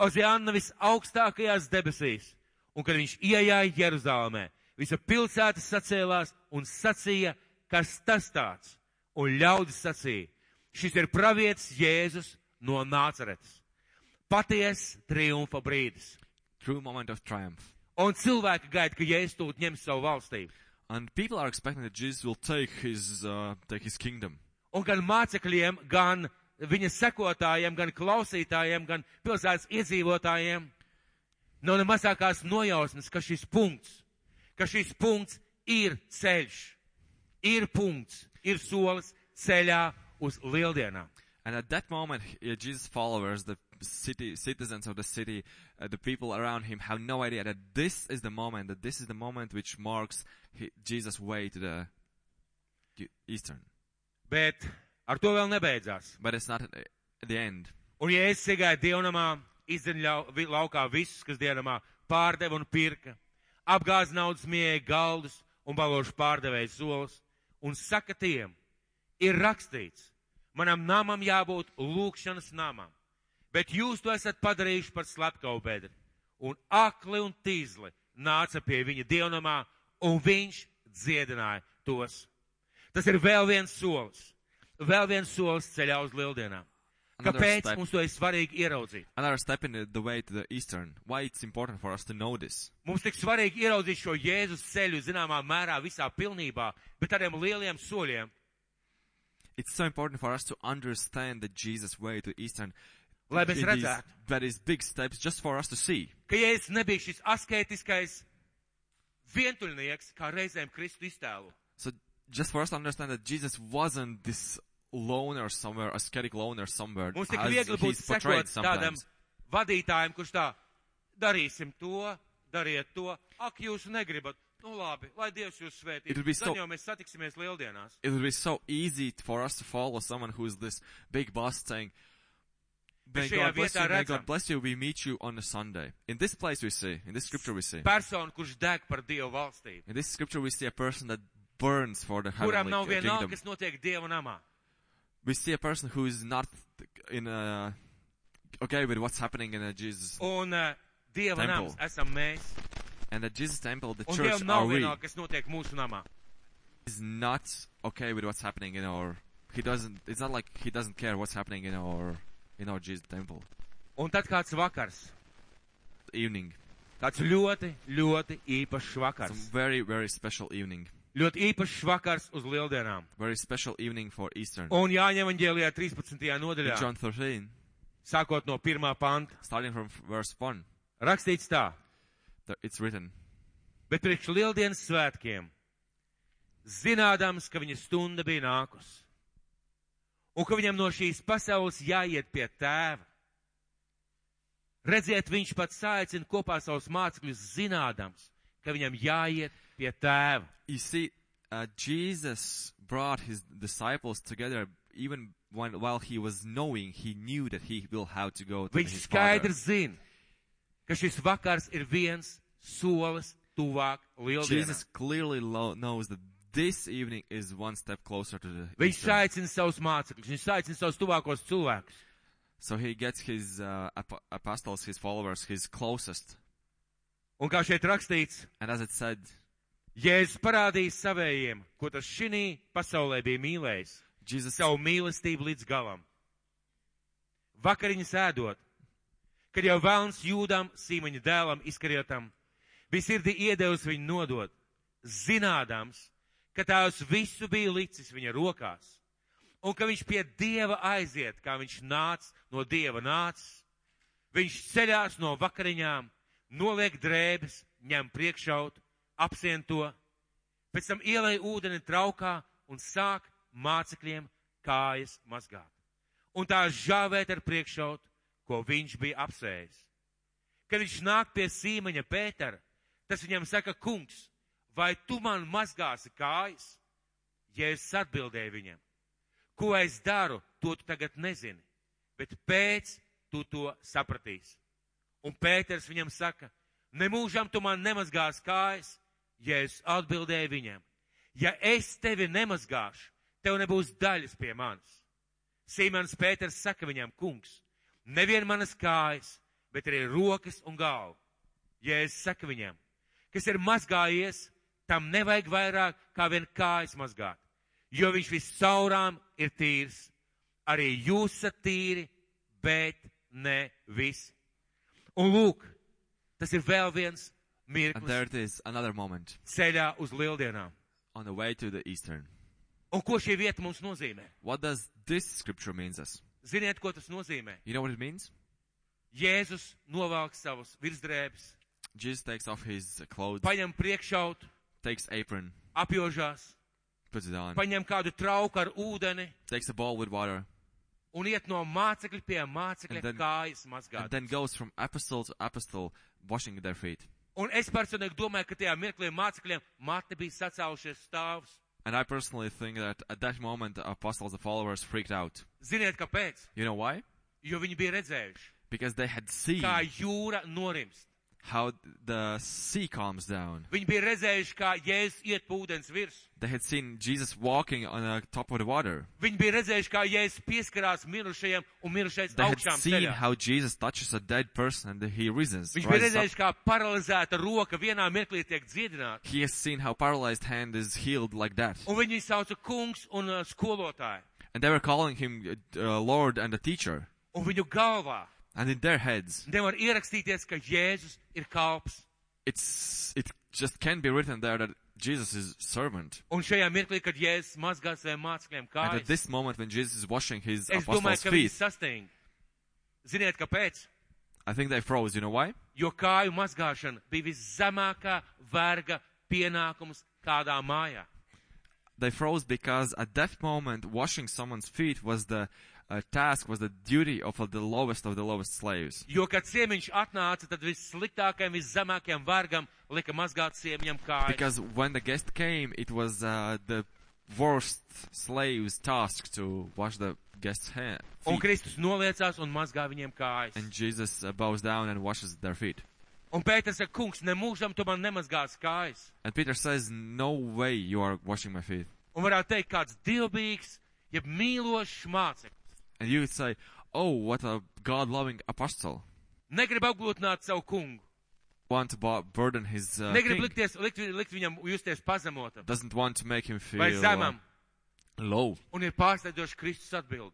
Speaker 1: Oziāna visaugstākajās debesīs. Un kad viņš ienāca Jeruzālēmē, visa pilsēta sacēlās un sacīja, kas tas tāds. Un ļaudis sacīja: Šis ir pravietis Jēzus no Nācaretes. Paties triumfa brīdis.
Speaker 2: True moment of triumph.
Speaker 1: Un cilvēki gaida, ka Jēzus tūlīt ņems savu valstību.
Speaker 2: And people are expecting that Jesus will take his, uh, take his kingdom.
Speaker 1: Un gan mācekļiem, gan viņa sekotājiem, gan klausītājiem, gan pilsētas iedzīvotājiem nav ne mazākās nojausmas, ka šis punkts, ka šis punkts ir ceļš, ir punkts, ir solis ceļā uz lieldienām.
Speaker 2: And at that moment, uh, Jesus' followers, the city, citizens of the city, uh, the people around him have no idea that this is the moment, that this is the moment which marks he, Jesus' way to the to Eastern.
Speaker 1: Bet ar to vēl nebeidzās.
Speaker 2: But it's not at uh, the end.
Speaker 1: Un ja es iegāju dievnamā, izdeņu laukā visus, kas dievnamā pārdeva un pirka, apgāz naudas mieja galdus un balošu pārdevēju solis, un saka tiem, ir rakstīts, manam namam jābūt lūkšanas namam, bet jūs to esat padarījuši par slepkavu bedri, un akli un tīzli nāca pie viņa dievnamā, un viņš dziedināja tos. Tas ir vēl viens solis, vēl viens solis ceļā uz lieldienām.
Speaker 2: Another
Speaker 1: Kāpēc
Speaker 2: step.
Speaker 1: mums to ir svarīgi ieraudzīt?
Speaker 2: Another step in the, the way to the Eastern. Why it's important for us to know this.
Speaker 1: Mums tik svarīgi ieraudzīt šo Jēzus ceļu zināmā mērā visā pilnībā, bet tādiem lieliem soļiem,
Speaker 2: It's so important for us to understand the Jesus way to Eastern.
Speaker 1: Lai mēs
Speaker 2: It is-
Speaker 1: redzētu.
Speaker 2: That is big steps just for us to see.
Speaker 1: ka Jēzus nebija šis asketiskais vientuļnieks, kā reizēm Kristu iztēlo.
Speaker 2: So just for us to understand that Jesus wasn't this loner somewhere, ascetic loner somewhere,
Speaker 1: Mums tik
Speaker 2: as
Speaker 1: viegli būtu
Speaker 2: he's portrayed
Speaker 1: sekot tādam
Speaker 2: sometimes.
Speaker 1: vadītājam, kurš tā, darīsim to, dariet to, ak, jūs negribat. Nu labi, lai Dievs jūs svētī.
Speaker 2: It would be so-
Speaker 1: Tad jau mēs satiksimies lieldienās.
Speaker 2: It would be so easy for us to follow someone who is this big boss saying, May
Speaker 1: šajā
Speaker 2: God bless
Speaker 1: vietā
Speaker 2: you, may
Speaker 1: redzam-
Speaker 2: God bless you, we meet you on a Sunday. In this place we see, in this scripture we see,
Speaker 1: Persona, kurš deg par Dievu valstību,
Speaker 2: in this scripture we see a person that burns for the
Speaker 1: kuram
Speaker 2: heavenly
Speaker 1: nav vienalga,
Speaker 2: kingdom.
Speaker 1: kas notiek Dieva namā.
Speaker 2: We see a person who is not in a, okay with what's happening in a Jesus,
Speaker 1: Un uh, Dieva
Speaker 2: Temple.
Speaker 1: nams esam mēs.
Speaker 2: and the Jesus temple, the
Speaker 1: Un
Speaker 2: church
Speaker 1: Dievam
Speaker 2: are
Speaker 1: nav
Speaker 2: we.
Speaker 1: vienalga, kas notiek mūsu namā.
Speaker 2: is not okay with what's happening in our. He doesn't. It's not like he doesn't care what's happening in our in our Jesus temple
Speaker 1: Un tad kāds vakars,
Speaker 2: evening.
Speaker 1: tāds ļoti, ļoti īpašs
Speaker 2: Some
Speaker 1: vakars.
Speaker 2: very very special evening.
Speaker 1: Ļoti īpašs vakars uz lieldienām.
Speaker 2: Very special evening for Eastern.
Speaker 1: Un Jāņa Evangelijā 13.
Speaker 2: In
Speaker 1: nodaļā,
Speaker 2: John 13,
Speaker 1: sākot no pirmā panta,
Speaker 2: starting from verse one,
Speaker 1: rakstīts tā.
Speaker 2: th- it's written.
Speaker 1: Bet priekš lieldienas svētkiem, zinādams, ka viņa stunda bija nākus, un ka viņam no šīs pasaules jāiet pie tēva. Redziet, viņš pats aicina kopā savus mācekļus, zinādams, ka viņam jāiet pie tēva.
Speaker 2: You see, uh, Jesus brought his disciples together even when while he was knowing he knew that he will have to go to
Speaker 1: Viņš
Speaker 2: his father.
Speaker 1: skaidri zina, ka šis vakars ir viens solis tuvāk
Speaker 2: Jesus
Speaker 1: lieldienām.
Speaker 2: clearly lo- knows that this evening is one step closer to the.
Speaker 1: Viņš
Speaker 2: Eastern.
Speaker 1: aicina savus mācekļus, viņš aicina savus tuvākos cilvēkus.
Speaker 2: So he gets his uh, ap- apostles, his followers, his closest.
Speaker 1: Un kā šeit rakstīts,
Speaker 2: And as it said,
Speaker 1: Jēzus parādīja savējiem, ko tas šī pasaulē bija mīlējis,
Speaker 2: Jesus
Speaker 1: savu mīlestību līdz galam. Vakariņu sēdot, kad jau vēlams jūdam, sīmaņa dēlam, izkarjotam, bija sirdī iedevis viņu nodot, zinādams, ka tās visu bija licis viņa rokās, un ka viņš pie dieva aiziet, kā viņš nāca no dieva nācis. Viņš ceļās no vakariņām, noliek drēbes, ņem priekšaut, apsien to, pēc tam ielai ūdeni traukā un sāk mācekļiem kājas mazgāt. Un tā žāvēt ar priekšaut, ko viņš bija apsējis. Kad viņš nāk pie sīmaņa Pētera, tas viņam saka, kungs, vai tu man mazgāsi kājas? Jēzus atbildēja viņam, ko es daru, to tu tagad nezini, bet pēc tu to sapratīsi. Un Pēters viņam saka, nemūžam tu man nemazgās kājas, ja es atbildēju viņam, ja es tevi nemazgāšu, tev nebūs daļas pie manis. Sīmans Pēters saka viņam, kungs, nevien manas kājas, bet arī rokas un galvu. Ja es saku viņam, kas ir mazgājies, tam nevajag vairāk kā vien kājas mazgāt, jo viņš viscaurām ir tīrs. Arī jūs esat tīri, bet ne visi. Un lūk, tas ir vēl viens
Speaker 2: And there
Speaker 1: mirklis
Speaker 2: it is, another moment
Speaker 1: ceļā uz lieldienām.
Speaker 2: on the way to the Eastern.
Speaker 1: Un ko šī vieta mums nozīmē?
Speaker 2: What does this scripture means us?
Speaker 1: Ziniet, ko tas nozīmē?
Speaker 2: You know what it means?
Speaker 1: Jēzus novelk savus virsdrēbes,
Speaker 2: Jesus takes off his clothes,
Speaker 1: paņem priekšaut,
Speaker 2: takes apron,
Speaker 1: apjožās,
Speaker 2: puts it on,
Speaker 1: paņem kādu trauku ar ūdeni
Speaker 2: takes a bowl with water,
Speaker 1: un iet no mācekļa pie mācekļa
Speaker 2: And then-
Speaker 1: kājas
Speaker 2: and
Speaker 1: mazgāt.
Speaker 2: then goes from apostle to apostle, washing their feet.
Speaker 1: Un es personīgi domāju, ka tajā mirklī mācekļiem mati bija sacēlušies stāvus.
Speaker 2: And I personally think that at that moment the apostles, the followers, freaked out.
Speaker 1: Ziniet, kāpēc?
Speaker 2: You know why?
Speaker 1: Jo viņi bija redzējuši,
Speaker 2: Because they had seen
Speaker 1: kā jūra norimst.
Speaker 2: how the sea calms down.
Speaker 1: Viņi bija redzējuši, kā Jēzus iet pa ūdens virsmu.
Speaker 2: They had seen Jesus walking on the top of the water.
Speaker 1: Viņi bija redzējuši, kā Jēzus pieskarās mirušajiem un mirušais
Speaker 2: They had
Speaker 1: augšām
Speaker 2: seen
Speaker 1: ceļā.
Speaker 2: how Jesus touches a dead person and he rises.
Speaker 1: Viņš bija
Speaker 2: rises up.
Speaker 1: redzējis, kā paralizēta roka vienā mirklī tiek dziedināta.
Speaker 2: He has seen how paralyzed hand is healed like that.
Speaker 1: Un viņi viņu sauca kungs un uh, skolotāji.
Speaker 2: And they were calling him uh, Lord and a teacher.
Speaker 1: Un viņu galvā
Speaker 2: And in their heads,
Speaker 1: nevar ierakstīties, ka Jēzus ir kalps.
Speaker 2: it's it just can't be written there that Jesus is servant.
Speaker 1: Un šajā mirklī, kad Jēzus mazgā saviem mācekļiem
Speaker 2: And at
Speaker 1: kājas,
Speaker 2: this moment when Jesus is washing his
Speaker 1: es
Speaker 2: apostles'
Speaker 1: domāju, ka viņi
Speaker 2: feet,
Speaker 1: sasting. Ziniet, kāpēc?
Speaker 2: I think they froze. You know why?
Speaker 1: Jo kāju mazgāšana bija viszemākā verga pienākums kādā mājā.
Speaker 2: They froze because at that moment washing someone's feet was the uh, task, was the duty of uh, the lowest of the lowest slaves.
Speaker 1: Jo, kad ciemiņš atnāca, tad vissliktākajam, viszemākajam vergam lika mazgāt ciemiņam kājas.
Speaker 2: Because when the guest came, it was uh, the worst slave's task to wash the guest's hand.
Speaker 1: Un Kristus noliecās un mazgā viņiem kājas.
Speaker 2: And Jesus uh, bows down and washes their feet.
Speaker 1: Un Pēters saka, kungs, nemūžam tu man nemazgās kājas.
Speaker 2: And Peter says, No way you are washing my feet.
Speaker 1: Un varētu teikt, kāds dievbijīgs, jeb mīlošs māceklis.
Speaker 2: And you would say, Oh, what a God loving apostle.
Speaker 1: Negrib apgūtināt savu kungu.
Speaker 2: Want to bu- burden his. Uh,
Speaker 1: Negrib
Speaker 2: king.
Speaker 1: likties, likt, vi- likt viņam justies pazemotam
Speaker 2: Doesn't want to make him feel
Speaker 1: vai
Speaker 2: uh,
Speaker 1: zemam.
Speaker 2: low.
Speaker 1: Un ir pārsteidzoši Kristus atbild.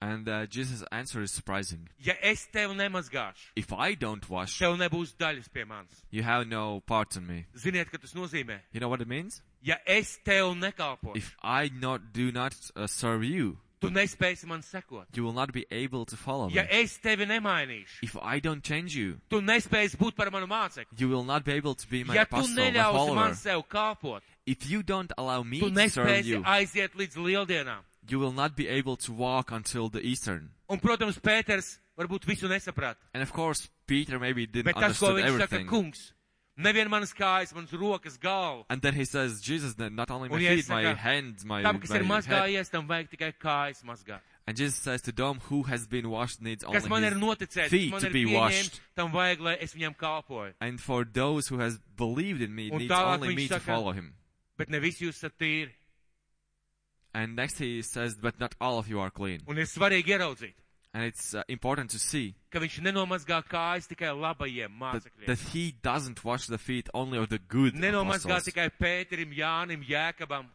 Speaker 2: And uh, Jesus' answer is surprising.
Speaker 1: Ja es tevi nemazgāšu,
Speaker 2: If I don't wash,
Speaker 1: tev nebūs daļas pie manis.
Speaker 2: you have no part in me.
Speaker 1: Ziniet, ka tas nozīmē,
Speaker 2: You know what it means?
Speaker 1: ja es tev nekalpošu,
Speaker 2: If I not do not uh, serve you,
Speaker 1: tu nespēsi man sekot.
Speaker 2: you will not be able to follow
Speaker 1: Ja
Speaker 2: me.
Speaker 1: es tevi nemainīšu,
Speaker 2: If I don't change you,
Speaker 1: tu nespēsi būt par manu mācekli.
Speaker 2: you will not be able to be my
Speaker 1: Ja tu
Speaker 2: apostle, my
Speaker 1: neļausi
Speaker 2: follower.
Speaker 1: man sev kalpot,
Speaker 2: If you don't allow me
Speaker 1: tu
Speaker 2: to serve
Speaker 1: nespēsi
Speaker 2: you,
Speaker 1: aiziet līdz lieldienām.
Speaker 2: you will not be able to walk until the Eastern.
Speaker 1: Un, protams, Pēters varbūt visu nesaprata.
Speaker 2: And of course, Peter maybe didn't
Speaker 1: Bet tas, ko
Speaker 2: understand
Speaker 1: viņš saka,
Speaker 2: everything.
Speaker 1: kungs, nevien manas kājas, manas rokas, galva.
Speaker 2: And then he says, Jesus, then not only my
Speaker 1: Un, ja es
Speaker 2: feet, my
Speaker 1: saku,
Speaker 2: hands, my,
Speaker 1: Tam, kas ir
Speaker 2: my head.
Speaker 1: mazgājies, tam vajag tikai kājas mazgāt.
Speaker 2: And Jesus says to them, who has been washed needs only
Speaker 1: Kas man ir
Speaker 2: his
Speaker 1: noticēts, kas
Speaker 2: feet
Speaker 1: man
Speaker 2: to
Speaker 1: ir
Speaker 2: be
Speaker 1: pieņēmis,
Speaker 2: washed.
Speaker 1: tam vajag, lai es viņam kalpoju.
Speaker 2: And for those who has believed in me
Speaker 1: Un
Speaker 2: needs
Speaker 1: tālāk
Speaker 2: only
Speaker 1: viņš
Speaker 2: me to
Speaker 1: saka-
Speaker 2: follow him.
Speaker 1: Bet ne visi jūs esat tīri.
Speaker 2: And next he says, but not all of you are clean.
Speaker 1: Un ir svarīgi ieraudzīt,
Speaker 2: And it's uh, important to see
Speaker 1: ka viņš nenomazgā kājas tikai labajiem
Speaker 2: that,
Speaker 1: mācekļiem.
Speaker 2: that he doesn't wash the feet only of the good
Speaker 1: Nenomazgā
Speaker 2: apostles.
Speaker 1: tikai Pēterim, Jānim, Jēkabam.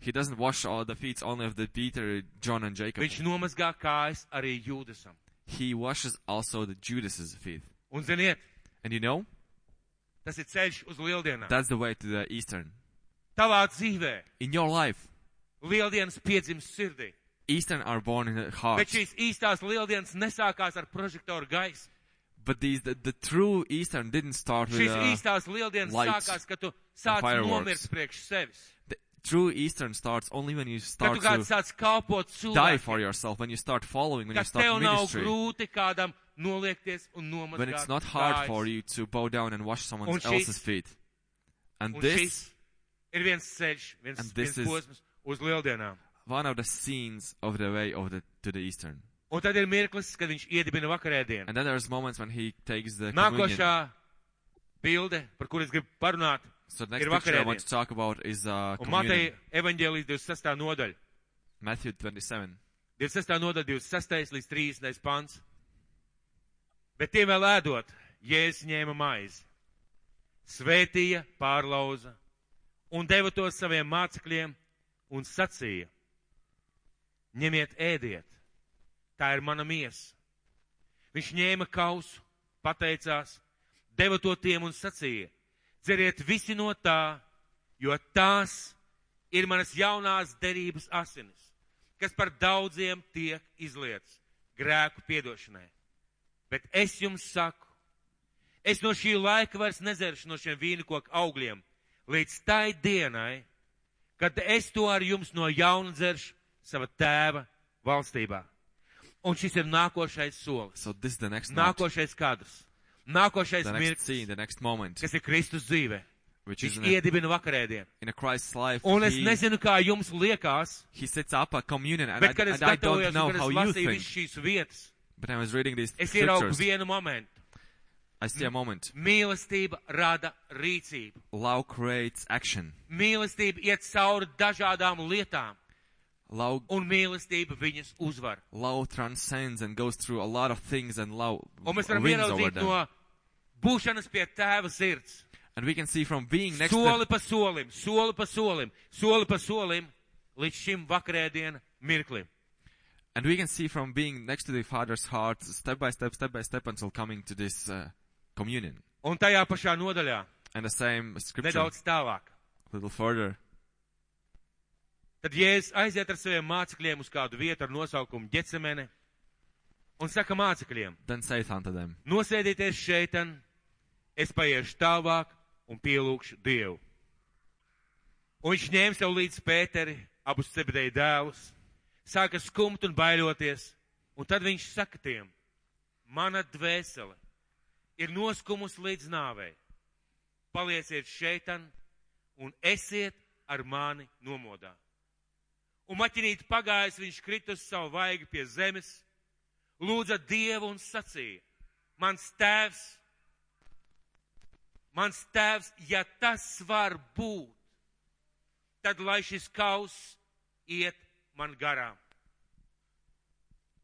Speaker 2: He doesn't wash all the feet only of the Peter, John, and Jacob.
Speaker 1: Viņš nomazgā kājas arī Jūdasam.
Speaker 2: He washes also the Judas's feet.
Speaker 1: Un ziniet,
Speaker 2: And you know,
Speaker 1: tas ir ceļš uz lieldienām.
Speaker 2: that's the way to the Eastern.
Speaker 1: Tavā dzīvē
Speaker 2: In your life,
Speaker 1: lieldienas piedzimst sirdī.
Speaker 2: Eastern are born in the heart.
Speaker 1: Bet šīs īstās lieldienas nesākās ar prožektoru gaisu.
Speaker 2: But these the, the true Easter didn't start with
Speaker 1: Šis
Speaker 2: uh,
Speaker 1: īstās lieldienas
Speaker 2: lights
Speaker 1: sākās, kad tu sāc
Speaker 2: fireworks.
Speaker 1: nomirt priekš sevis.
Speaker 2: the true Eastern starts only when you
Speaker 1: Kad
Speaker 2: start
Speaker 1: tu kāds
Speaker 2: to
Speaker 1: sāc kalpot
Speaker 2: die
Speaker 1: cilvēkiem,
Speaker 2: for yourself, when you start following, when you
Speaker 1: kad tev
Speaker 2: start
Speaker 1: nav
Speaker 2: ministry,
Speaker 1: grūti kādam noliekties un
Speaker 2: when
Speaker 1: nomazgāt
Speaker 2: it's not hard
Speaker 1: kājas.
Speaker 2: for you to bow down and wash someone
Speaker 1: Un šis-
Speaker 2: else's feet. And
Speaker 1: Un
Speaker 2: this
Speaker 1: šis ir viens ceļš, viens, viens
Speaker 2: And this is-
Speaker 1: posms uz lieldienām.
Speaker 2: one of the scenes of the way of the to the Eastern.
Speaker 1: Un tad ir mirklis, kad viņš iedibina vakarēdienu.
Speaker 2: And then there's moments when he takes the communion.
Speaker 1: Nākošā bilde, par kuru es gribu parunāt,
Speaker 2: So the next
Speaker 1: ir
Speaker 2: picture I
Speaker 1: vakarēdiena.
Speaker 2: want to talk about is uh,
Speaker 1: un
Speaker 2: communion.
Speaker 1: Mateja evaņģēlijas 26. nodaļa.
Speaker 2: Matthew 27.
Speaker 1: 26. nodaļa, 26. līdz 30. pants. Bet tiem vēl ēdot, Jēzus ņēma maizi, svētīja, pārlauza un deva to saviem mācekļiem un sacīja: Ņemiet, ēdiet, tā ir mana miesa. Viņš ņēma kausu, pateicās, deva to tiem un sacīja: Dzeriet visi no tā, jo tās ir manas jaunās derības asinis, kas par daudziem tiek izlietas grēku piedošanai. Bet es jums saku, es no šī laika vairs nedzeršu no šiem vīnkoku augļiem līdz tai dienai, kad es to ar jums no jauna dzeršu sava tēva valstībā. Un šis ir nākošais solis.
Speaker 2: So this is the next note,
Speaker 1: Nākošais kadrs, nākošais
Speaker 2: the next scene,
Speaker 1: mirklis,
Speaker 2: the next moment,
Speaker 1: kas ir Kristus dzīve.
Speaker 2: which is
Speaker 1: Viņš
Speaker 2: in a,
Speaker 1: iedibina vakarēdienu.
Speaker 2: in a Christ's life.
Speaker 1: Un es
Speaker 2: He,
Speaker 1: nezinu, kā jums liekas,
Speaker 2: he sets up a communion, and
Speaker 1: bet, kad
Speaker 2: I,
Speaker 1: es
Speaker 2: and I
Speaker 1: gatavojos,
Speaker 2: don't know
Speaker 1: un, kad
Speaker 2: how
Speaker 1: es
Speaker 2: you
Speaker 1: lasīju
Speaker 2: think.
Speaker 1: visas šīs vietas,
Speaker 2: But I was reading these
Speaker 1: es ieraugu
Speaker 2: scriptures.
Speaker 1: vienu momentu.
Speaker 2: I see a moment.
Speaker 1: Mīlestība rada rīcību.
Speaker 2: Love creates action.
Speaker 1: Mīlestība iet cauri dažādām lietām,
Speaker 2: Love,
Speaker 1: un mīlestība viņas uzvar.
Speaker 2: love transcends and goes through a lot of things, and love
Speaker 1: Un mēs varam
Speaker 2: wins over
Speaker 1: ieraudzīt
Speaker 2: them.
Speaker 1: no būšanas pie tēva sirds.
Speaker 2: And we can see from being next to
Speaker 1: Soli pa solim, soli pa solim, soli pa solim, līdz šim vakarēdienu mirklim.
Speaker 2: And we can see from being next to the Father's heart, step by step, step by step, until coming to this uh, communion.
Speaker 1: Un tajā pašā nodaļā,
Speaker 2: And the same scripture, a
Speaker 1: nedaudz tālāk,
Speaker 2: little further.
Speaker 1: tad Jēzus aiziet ar saviem mācekļiem uz kādu vietu ar nosaukumu Getsemene un saka mācekļiem,
Speaker 2: Then saith unto them,
Speaker 1: nosēdieties šeit, es paiešu tālāk un pielūgšu Dievu. Un viņš ņēma sev līdz Pēteri, abus cebedēju dēlus, sāka skumt un baidoties, un tad viņš saka tiem, mana dvēsele ir noskumusi līdz nāvei. Palieciet šeit un esiet ar mani nomodā. Un maķinīt pagājis, viņš krita uz savu vaigu pie zemes, lūdza Dievu un sacīja: Mans tēvs, mans tēvs, ja tas var būt, tad lai šis kaus iet man garām.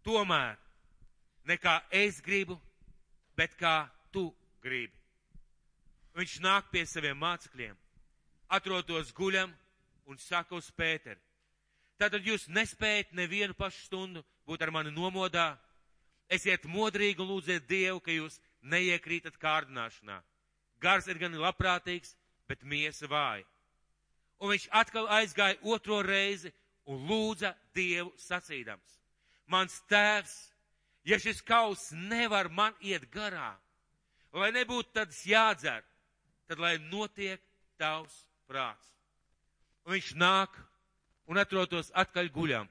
Speaker 1: Tomēr ne kā es gribu, bet kā tu gribi. Viņš nāk pie saviem mācekļiem, atrodos guļam un saka uz Pēteri. Tātad jūs nespējat nevienu pašu stundu būt ar mani nomodā. Esiet modrīgi un lūdziet Dievu, ka jūs neiekrītat kārdināšanā. Gars ir gan labprātīgs, bet miesa vāja. Un viņš atkal aizgāja otro reizi un lūdza Dievu sacīdams: Mans tēvs, ja šis kaus nevar man iet garām, lai nebūtu tāds jādzer, tad lai notiek tavs prāts. Un viņš nāk un atrodos atkal guļam,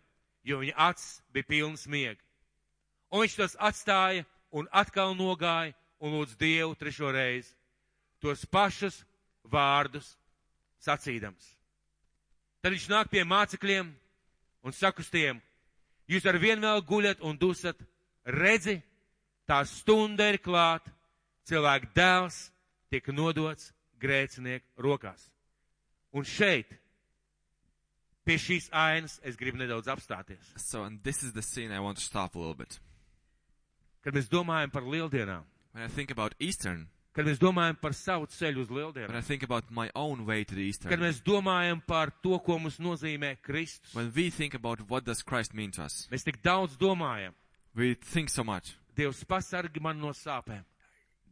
Speaker 1: jo viņa acis bija pilnas miega. Un viņš tos atstāja un atkal nogāja un lūdz Dievu trešo reizi tos pašus vārdus sacīdams. Tad viņš nāk pie mācekļiem un saka uz tiem, jūs ar vienu vēl guļat un dusat, redzi, tā stunda ir klāt, cilvēka dēls tiek nodots grēcinieku rokās. Un šeit, pie šīs ainas, es gribu nedaudz apstāties.
Speaker 2: So, and this is the scene I want to stop a little bit.
Speaker 1: Kad mēs domājam par lieldienām,
Speaker 2: When I think about Eastern,
Speaker 1: kad mēs domājam par savu ceļu uz
Speaker 2: when
Speaker 1: lieldienām,
Speaker 2: I think about my own way to the
Speaker 1: kad
Speaker 2: Eastern,
Speaker 1: mēs domājam par to, ko mums nozīmē Kristus,
Speaker 2: when we think about what does Christ mean to us,
Speaker 1: mēs tik daudz domājam.
Speaker 2: we think so much.
Speaker 1: Dievs pasargi man no sāpēm,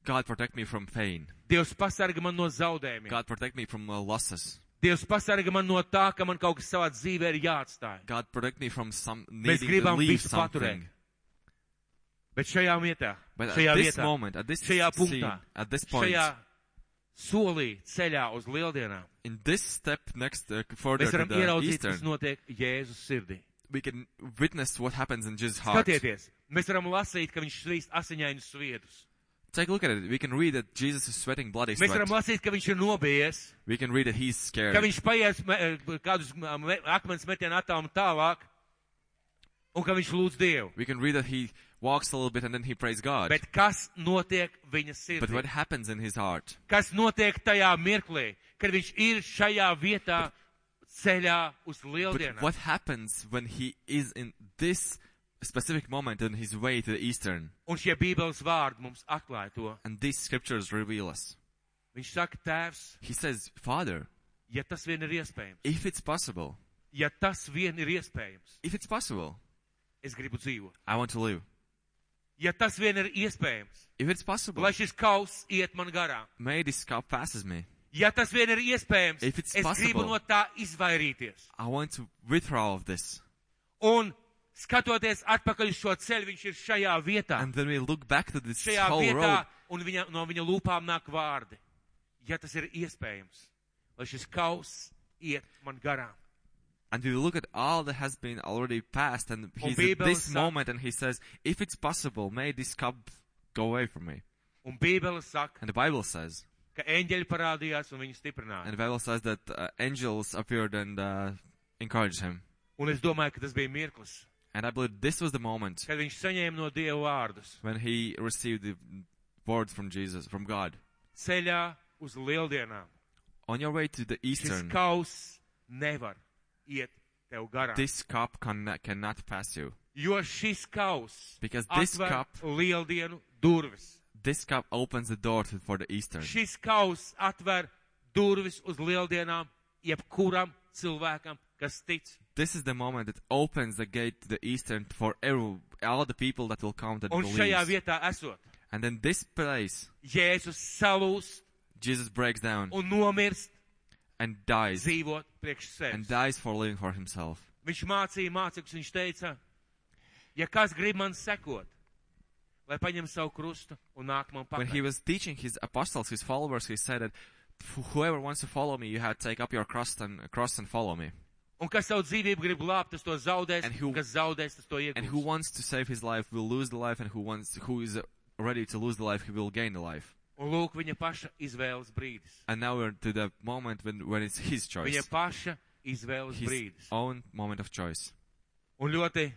Speaker 2: God protect me from pain.
Speaker 1: Dievs pasargi man no zaudējumiem,
Speaker 2: God protect me from uh, losses.
Speaker 1: Dievs pasargi man no tā, ka man kaut kas savā dzīvē ir jāatstāj.
Speaker 2: God protect me from some needing
Speaker 1: Mēs gribam
Speaker 2: to leave
Speaker 1: visu paturēt.
Speaker 2: something.
Speaker 1: Bet šajā vietā,
Speaker 2: But at
Speaker 1: šajā
Speaker 2: this
Speaker 1: vietā,
Speaker 2: moment, at this
Speaker 1: šajā
Speaker 2: scene,
Speaker 1: punktā,
Speaker 2: at this point,
Speaker 1: šajā solī ceļā uz lieldienām,
Speaker 2: in this step next uh, further
Speaker 1: mēs
Speaker 2: to
Speaker 1: varam
Speaker 2: the
Speaker 1: ieraudzīt,
Speaker 2: Eastern,
Speaker 1: kas notiek Jēzus sirdī.
Speaker 2: we can witness what happens in Jesus' heart.
Speaker 1: Skatieties, mēs varam lasīt, ka viņš slīst asiņainus sviedus.
Speaker 2: Take a look at it. We can read that Jesus is sweating bloody
Speaker 1: Mēs
Speaker 2: sweat.
Speaker 1: varam lasīt, ka viņš ir nobijies,
Speaker 2: We can read that he's scared.
Speaker 1: ka viņš paies me- eh, kādus mm, me- akmens metienu attālumu tālāk, un ka viņš lūdz Dievu.
Speaker 2: We can read that he walks a little bit and then he prays God.
Speaker 1: Bet kas notiek viņa
Speaker 2: But
Speaker 1: sirdī?
Speaker 2: what happens in his heart?
Speaker 1: Kas notiek tajā mirklī, kad viņš ir šajā vietā ceļā uz
Speaker 2: But
Speaker 1: lieldienām?
Speaker 2: what happens when he is in this specific moment on his way to the Eastern?
Speaker 1: Un šie bībeles vārdi mums atklāja to.
Speaker 2: And these scriptures reveal us.
Speaker 1: Viņš saka, tēvs,
Speaker 2: He says, Father,
Speaker 1: ja tas vien ir iespējams,
Speaker 2: if it's possible,
Speaker 1: ja tas vien ir iespējams,
Speaker 2: if it's possible,
Speaker 1: es gribu dzīvot.
Speaker 2: I want to live.
Speaker 1: Ja tas vien ir iespējams,
Speaker 2: If it's possible,
Speaker 1: lai šis kauss iet man garām.
Speaker 2: may this cup passes me.
Speaker 1: Ja tas vien ir iespējams,
Speaker 2: If it's
Speaker 1: es gribu
Speaker 2: possible.
Speaker 1: no tā izvairīties.
Speaker 2: I want to withdraw of this.
Speaker 1: Un skatoties atpakaļ uz šo ceļu, viņš ir šajā vietā,
Speaker 2: And then we look back to this
Speaker 1: šajā
Speaker 2: whole
Speaker 1: vietā,
Speaker 2: road.
Speaker 1: un viņa, no viņa lūpām nāk vārdi. Ja tas ir iespējams, lai šis kauss iet man garām.
Speaker 2: And we look at all that has been already passed, and he's at
Speaker 1: Bible
Speaker 2: this
Speaker 1: sa-
Speaker 2: moment, and he says, "If it's possible, may this cup go away from me."
Speaker 1: Un Bībele saka,
Speaker 2: And the Bible says,
Speaker 1: ka eņģeļi parādījās un viņu stiprināja.
Speaker 2: and the Bible says that uh, angels appeared and uh, encouraged him.
Speaker 1: Un es domāju, ka tas bija mirklis,
Speaker 2: And I believe this was the moment
Speaker 1: kad viņš saņēma no Dieva vārdus
Speaker 2: when he received the word from Jesus, from God.
Speaker 1: ceļā uz lieldienām.
Speaker 2: On your way to the
Speaker 1: Šis
Speaker 2: eastern,
Speaker 1: kauss nevar iet tev garām.
Speaker 2: this cup can, cannot pass you.
Speaker 1: Jo šis kaus
Speaker 2: Because this
Speaker 1: atver
Speaker 2: cup-
Speaker 1: lieldienu durvis.
Speaker 2: This cup opens the door to, for the eastern.
Speaker 1: Šis kaus atver durvis uz lieldienām jebkuram cilvēkam, kas tic.
Speaker 2: This is the moment that opens the gate to the eastern for every, all the people that will come that
Speaker 1: Un šajā
Speaker 2: believe.
Speaker 1: vietā esot,
Speaker 2: And then this place,
Speaker 1: Jēzus salūs
Speaker 2: Jesus breaks down
Speaker 1: un nomirst
Speaker 2: and dies,
Speaker 1: dzīvot priekš
Speaker 2: and
Speaker 1: sevis.
Speaker 2: dies for living for himself.
Speaker 1: Viņš mācīja mācekļus, viņš teica, ja kas grib man sekot, lai paņem savu krustu un nāk man
Speaker 2: When he
Speaker 1: pakaļ.
Speaker 2: was teaching his apostles, his followers, he said that "Wh- whoever wants to follow me, you have to take up your cross and cross and follow me.
Speaker 1: Un kas savu dzīvību grib glābt, tas to zaudēs,
Speaker 2: And who-
Speaker 1: un kas zaudēs, tas to
Speaker 2: And who
Speaker 1: iegūs.
Speaker 2: wants to save his life will lose the life, and who wants who is uh, ready to lose the life, he will gain the life.
Speaker 1: Un lūk viņa paša izvēles brīdis.
Speaker 2: And now we're to the moment when when it's his
Speaker 1: Viņa
Speaker 2: choice,
Speaker 1: paša izvēles
Speaker 2: his
Speaker 1: brīdis.
Speaker 2: own moment of choice.
Speaker 1: Un ļoti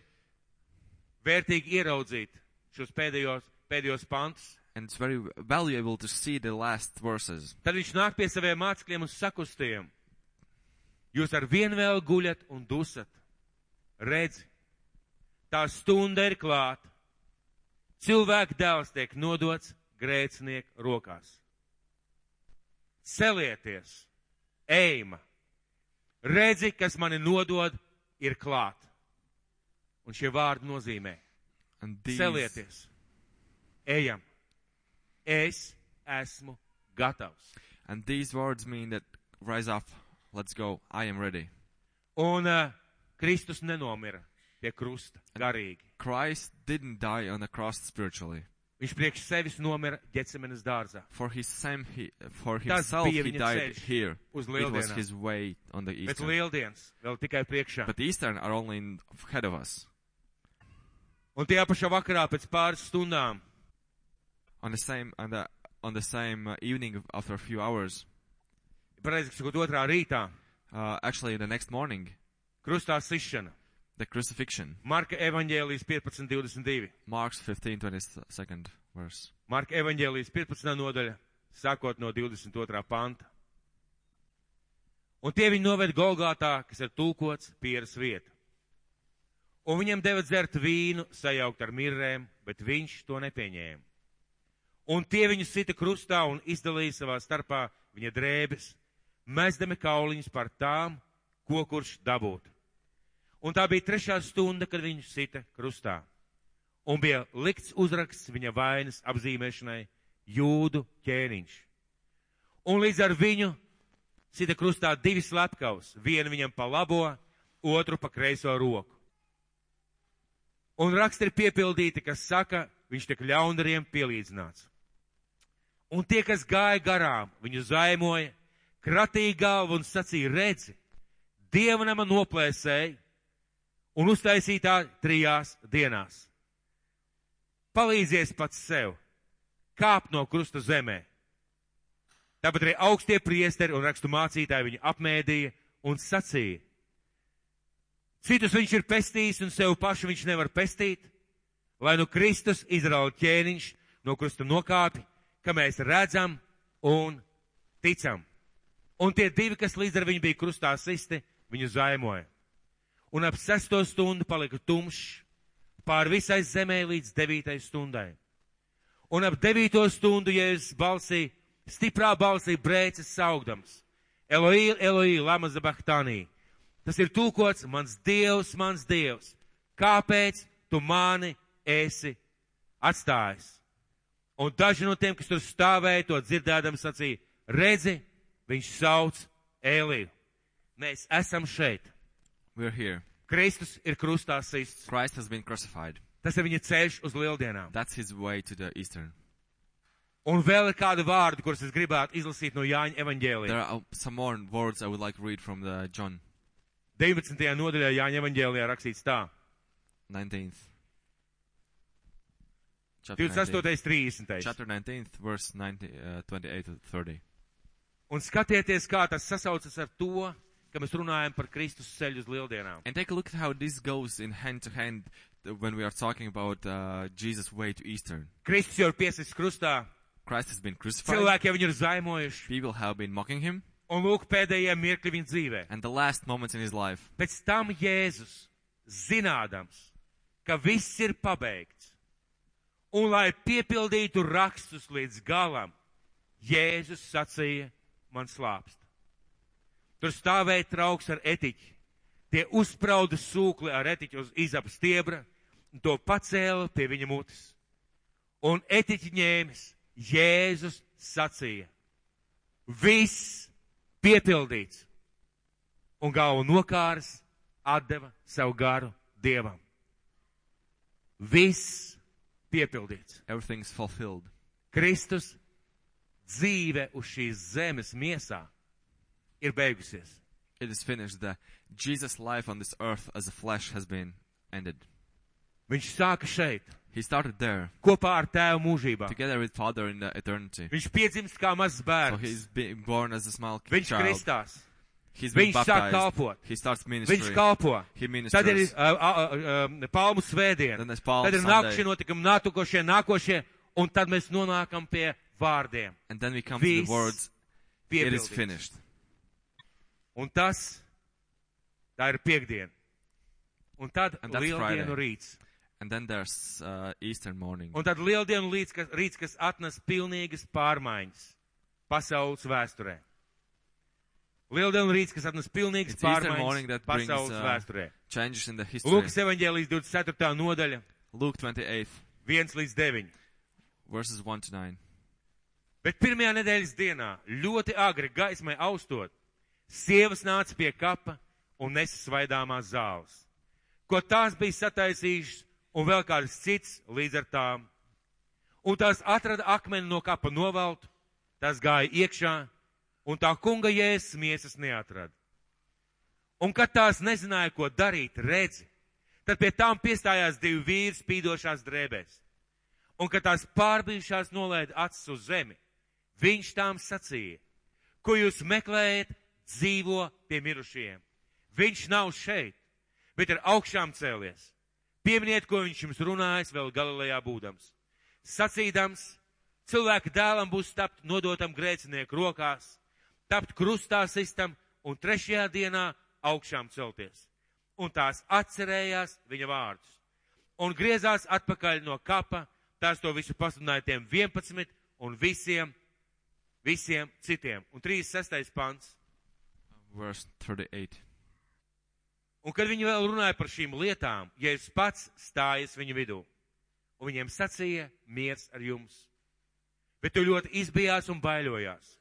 Speaker 1: vērtīgi ieraudzīt šos pēdējos, pēdējos pantus.
Speaker 2: And it's very valuable to see the last verses.
Speaker 1: Tad viņš nāk pie saviem mācekļiem un sakustiem. Jūs ar vienu vēl guļat un dusat. Redzi, tā stunda ir klāta. Cilvēka dēls tiek nodots grēcinieku rokās. Celieties, ejma, redzi, kas mani nodod, ir klāt. Un šie vārdi nozīmē:
Speaker 2: And these,
Speaker 1: celieties, ejam, es esmu gatavs.
Speaker 2: and these words mean that rise up, let's go, I am ready.
Speaker 1: Un uh, Kristus nenomira pie krusta garīgi.
Speaker 2: Christ didn't die on the cross spiritually.
Speaker 1: Viņš priekš sevis nomira ģecemenes dārzā.
Speaker 2: For his same, he, for
Speaker 1: Tas
Speaker 2: himself
Speaker 1: bija
Speaker 2: he
Speaker 1: viņa
Speaker 2: died
Speaker 1: ceļš
Speaker 2: here.
Speaker 1: uz
Speaker 2: It was
Speaker 1: lieldienām.
Speaker 2: his way on the
Speaker 1: Bet
Speaker 2: eastern.
Speaker 1: lieldienas vēl tikai priekšā.
Speaker 2: But the eastern are only in, ahead of us.
Speaker 1: Un tajā pašā vakarā pēc pāris stundām
Speaker 2: On the same, on the, on the same uh, evening after a few hours,
Speaker 1: Pareizi, sakot, otrā rītā
Speaker 2: uh, actually the next morning,
Speaker 1: krustā sišana.
Speaker 2: the crucifixion.
Speaker 1: Marka evaņģēlijas 15.22.
Speaker 2: Mark's 15, 22nd verse.
Speaker 1: Marka evaņģēlijas 15. nodaļa, sākot no 22. panta. Un tie viņi noved Golgātā, kas ir tulkots pieras vieta. Un viņam deva dzert vīnu, sajaukt ar mirrēm, bet viņš to nepieņēma. Un tie viņu sita krustā un izdalīja savā starpā viņa drēbes, mēsdami kauliņus par tām, ko kurš dabūt. Un tā bija trešā stunda, kad viņu sita krustā. Un bija likts uzraksts viņa vainas apzīmēšanai jūdu ķēniņš. Un līdz ar viņu sita krustā divi slepkavas, vienu viņam pa labo, otru pa kreiso roku. Un raksti ir piepildīti, kas saka, viņš tiek ļaundariem pielīdzināts. Un tie, kas gāja garām, viņu zaimoja, kratīja galvu un sacīja, redzi, dievnama noplēsēji un uztaisītā trijās dienās. Palīdzies pats sev, kāp no krusta zemē. Tāpat arī augstie priesteri un rakstu mācītāji viņu apmēdīja un sacīja. Citus viņš ir pestījis un sev pašu viņš nevar pestīt, lai nu Kristus Izraela ķēniņš no krusta nokāpi, ka mēs redzam un ticam. Un tie divi, kas līdz ar viņu bija krustā sisti, viņu zaimoja. Un ap sesto stundu palika tumšs pār visai zemē līdz devītai stundai. Un ap devīto stundu Jēzus balsī, stiprā balsī brēcis saugdams. Eloi, Eloi, Lama Zabahtanī. Tas ir tūkots, mans Dievs, mans Dievs. Kāpēc tu mani esi atstājis? Un daži no tiem, kas tur stāvēja, to dzirdēdami sacīja, redzi, viņš sauc Eliju. Mēs esam šeit.
Speaker 2: We're here.
Speaker 1: Kristus ir krustā sists.
Speaker 2: Christ has been crucified.
Speaker 1: Tas ir viņa ceļš uz lieldienām.
Speaker 2: That's his way to the Eastern.
Speaker 1: Un vēl ir kādi vārdi, kurus es gribētu izlasīt no Jāņa
Speaker 2: There
Speaker 1: evaņģēlijā.
Speaker 2: are uh, some more words I would like to read from the John
Speaker 1: 19. nodaļā Jāņa evaņģēlijā rakstīts tā.
Speaker 2: 19th. Chapter 19th.
Speaker 1: 28. 30.
Speaker 2: Chapter 19th, verse 90, uh, 28 to 30.
Speaker 1: Un skatieties, kā tas sasaucas ar to, ka mēs runājam par Kristus ceļu uz lieldienām.
Speaker 2: And take a look at how this goes in hand to hand uh, when we are talking about uh, Jesus' way to Eastern.
Speaker 1: Kristus jau ir piesprādzis krustā,
Speaker 2: Christ has been crucified.
Speaker 1: cilvēki jau viņu ir zaimojuši,
Speaker 2: People have been mocking him.
Speaker 1: un lūk, pēdējie mirkļi viņa dzīvē.
Speaker 2: And the last moments in his life,
Speaker 1: Pēc tam Jēzus, zinādams, ka viss ir pabeigts, un lai piepildītu rakstus līdz galam, Jēzus sacīja, man slāpst. Tur stāvēja trauks ar etiķi. Tie uzsprauda sūkli ar etiķi uz izapa stiebra un to pacēla pie viņa mutes. Un etiķi ņēmis, Jēzus sacīja, viss piepildīts un galvu nokārs atdeva savu garu dievam. Viss piepildīts.
Speaker 2: everything's fulfilled.
Speaker 1: Kristus dzīve uz šīs zemes miesā ir beigusies.
Speaker 2: It is finished. The Jesus' life on this earth as a flesh has been ended.
Speaker 1: Viņš sāka šeit,
Speaker 2: He started there,
Speaker 1: kopā ar tēvu mūžībā.
Speaker 2: together with Father in the eternity.
Speaker 1: Viņš piedzimst kā mazs
Speaker 2: So
Speaker 1: bērns.
Speaker 2: he's being born as a small
Speaker 1: Viņš
Speaker 2: child.
Speaker 1: kristās,
Speaker 2: He's been
Speaker 1: Viņš sāk kalpot.
Speaker 2: baptized. He starts
Speaker 1: viņš
Speaker 2: ministry.
Speaker 1: kalpo.
Speaker 2: He
Speaker 1: Tad ir
Speaker 2: ministers.
Speaker 1: uh, uh, uh, palmu svētdiena,
Speaker 2: Then there's Palm
Speaker 1: tad ir
Speaker 2: Sunday.
Speaker 1: nākušie notikumi, nākošie, nākošie, un tad mēs nonākam pie vārdiem.
Speaker 2: And then we come to
Speaker 1: Viss
Speaker 2: the words, it is
Speaker 1: Piepildīts.
Speaker 2: finished.
Speaker 1: Un tas tā ir piekdiena. Un tad
Speaker 2: And that's
Speaker 1: lieldienu
Speaker 2: Friday.
Speaker 1: rīts.
Speaker 2: And then there's uh, Easter morning.
Speaker 1: Un tad lieldienu rīts, kas, rīts, kas atnes pilnīgas pārmaiņas pasaules vēsturē. Lieldienu rīts, kas atnes pilnīgas
Speaker 2: It's Easter morning
Speaker 1: pārmaiņas
Speaker 2: that brings
Speaker 1: pasaules
Speaker 2: uh,
Speaker 1: vēsturē.
Speaker 2: changes in the history.
Speaker 1: Lūkas evaņģēlijas 24. nodaļa,
Speaker 2: Luke 28,
Speaker 1: 1 līdz 9.
Speaker 2: verses 1 to 9.
Speaker 1: Bet pirmajā nedēļas dienā, ļoti agri gaismai austot, sievas nāca pie kapa un nesa svaidāmās zāles, ko tās bija sataisījušas un vēl kāds cits līdz ar tām. Un tās atrada akmeni no kapa novelt, tās gāja iekšā, un tā kunga jēzus miesas neatrada. Un kad tās nezināja, ko darīt, redzi, tad pie tām piestājās divi vīri spīdošās drēbēs un kad tās pārbījušās nolaida acis uz zemi, viņš tām sacīja, ko jūs meklējat, dzīvo pie mirušajiem. Viņš nav šeit, bet ir augšām cēlies. Pieminiet, ko viņš jums runājis vēl Galilejā būdams. Sacīdams, cilvēka dēlam būs tapt nodotam grēcinieku rokās, tapt krustā sistam un trešajā dienā augšām celties. Un tās atcerējās viņa vārdus un griezās atpakaļ no kapa. Tās to visu pasludināja tiem 11 un visiem, visiem citiem. Un 36. pants.
Speaker 2: Verse 38.
Speaker 1: Un kad viņi vēl runāja par šīm lietām, Jēzus pats stājas viņu vidū. Un viņiem sacīja, miers ar jums. Bet tu ļoti izbijās un bailojās.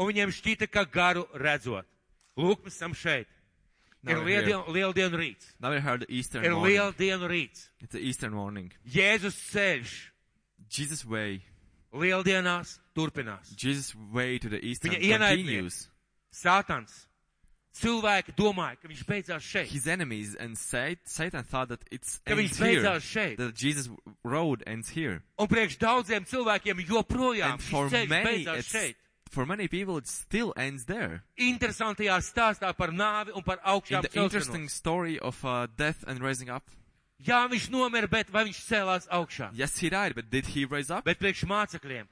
Speaker 1: Un viņiem šķita, ka garu redzot. Lūk, mēs esam šeit.
Speaker 2: Now
Speaker 1: Ir
Speaker 2: we heard,
Speaker 1: lieldienu lieldienu rīts.
Speaker 2: now we heard the Eastern
Speaker 1: Ir
Speaker 2: morning.
Speaker 1: lieldienu rīts.
Speaker 2: It's the Eastern morning.
Speaker 1: Jēzus ceļš
Speaker 2: Jesus' way.
Speaker 1: lieldienās turpinās.
Speaker 2: Jesus' way to the Eastern
Speaker 1: Viņa ienaidnieki.
Speaker 2: continues.
Speaker 1: Sātans. Cilvēki domāja, ka viņš beidzās šeit.
Speaker 2: His enemies and Sat- Satan thought that it's
Speaker 1: Ka
Speaker 2: ends
Speaker 1: viņš
Speaker 2: here.
Speaker 1: beidzās šeit.
Speaker 2: That Jesus' road ends here.
Speaker 1: Un priekš daudziem cilvēkiem joprojām
Speaker 2: And for
Speaker 1: šis ceļš
Speaker 2: many,
Speaker 1: beidzās
Speaker 2: it's,
Speaker 1: šeit.
Speaker 2: for many people, it still ends there.
Speaker 1: Interesantajā stāstā par nāvi un par
Speaker 2: In
Speaker 1: augšām
Speaker 2: the interesting
Speaker 1: celšanos.
Speaker 2: story of uh, death and raising up,
Speaker 1: Jā, viņš nomira, bet vai viņš cēlās augšā?
Speaker 2: yes, he died, but did he rise up?
Speaker 1: Bet priekš mācekļiem,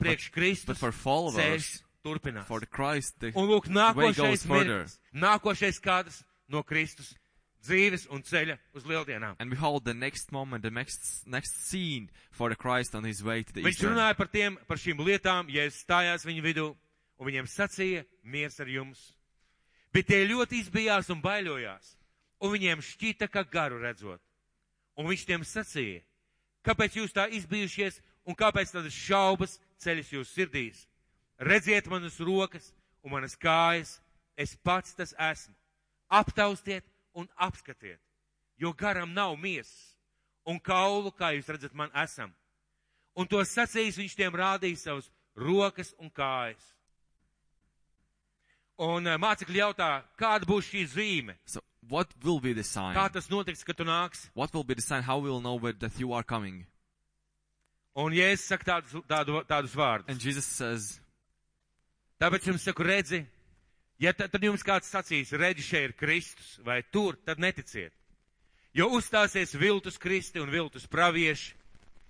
Speaker 1: priekš
Speaker 2: But
Speaker 1: Kristus,
Speaker 2: for
Speaker 1: ceļš
Speaker 2: followers,
Speaker 1: turpinās.
Speaker 2: for the Christ, the
Speaker 1: Un lūk,
Speaker 2: way goes
Speaker 1: nākošais
Speaker 2: further.
Speaker 1: mirklis, nākošais kādas no Kristus dzīves un ceļa uz lieldienām.
Speaker 2: And behold, the next moment, the next next scene for the Christ on his way to the
Speaker 1: Viņš
Speaker 2: Eastern.
Speaker 1: runāja par tiem, par šīm lietām, ja es stājās viņu vidū, un viņiem sacīja, miers ar jums. Bet tie ļoti izbijās un baidījās, un viņiem šķita, ka garu redzot. Un viņš tiem sacīja, kāpēc jūs tā izbijušies, un kāpēc tādas šaubas ceļas jūs sirdīs? Redziet manas rokas un manas kājas, es pats tas esmu. Aptaustiet un apskatiet, jo garam nav miesas, un kaulu, kā jūs redzat, man esam. Un to sacīs viņš tiem rādīja savas rokas un kājas. Un eh, mācekļi jautā, kāda būs šī zīme?
Speaker 2: So, what will be the sign?
Speaker 1: Kā tas notiks, kad tu nāks?
Speaker 2: What will be the sign? How we will know where- that you are coming?
Speaker 1: Un Jēzus saka tādus, tādu, tādus
Speaker 2: And
Speaker 1: vārdus.
Speaker 2: Jesus says,
Speaker 1: Tāpēc jums saku, redzi, ja ta- tad jums kāds sacīs, redzi, šeit ir Kristus vai tur, tad neticiet. Jo uzstāsies viltus Kristi un viltus pravieši,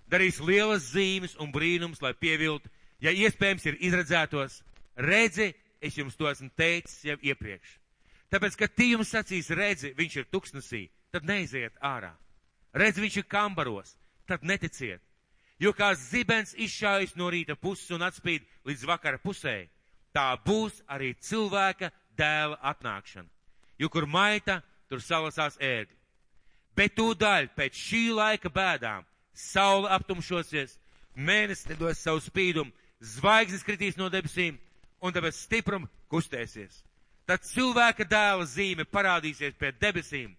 Speaker 1: darīs lielas zīmes un brīnums, lai pieviltu, ja iespējams ir izredzētos. Redzi, es jums to esmu teicis jau iepriekš. Tāpēc, kad tie jums sacīs, redzi, viņš ir tuksnesī, tad neiziet ārā. Redzi, viņš ir kambaros, tad neticiet. Jo kā zibens izšāvis no rīta puses un atspīd līdz vakara pusē, tā būs arī cilvēka dēla atnākšana. Jo kur maita, tur salasās ērgli. Bet tūdaļ pēc šī laika bēdām saule aptumšosies, mēnesis nedos savu spīdumu, zvaigznes kritīs no debesīm, un tāpēc stiprums kustēsies. Tad cilvēka dēla zīme parādīsies pie debesīm,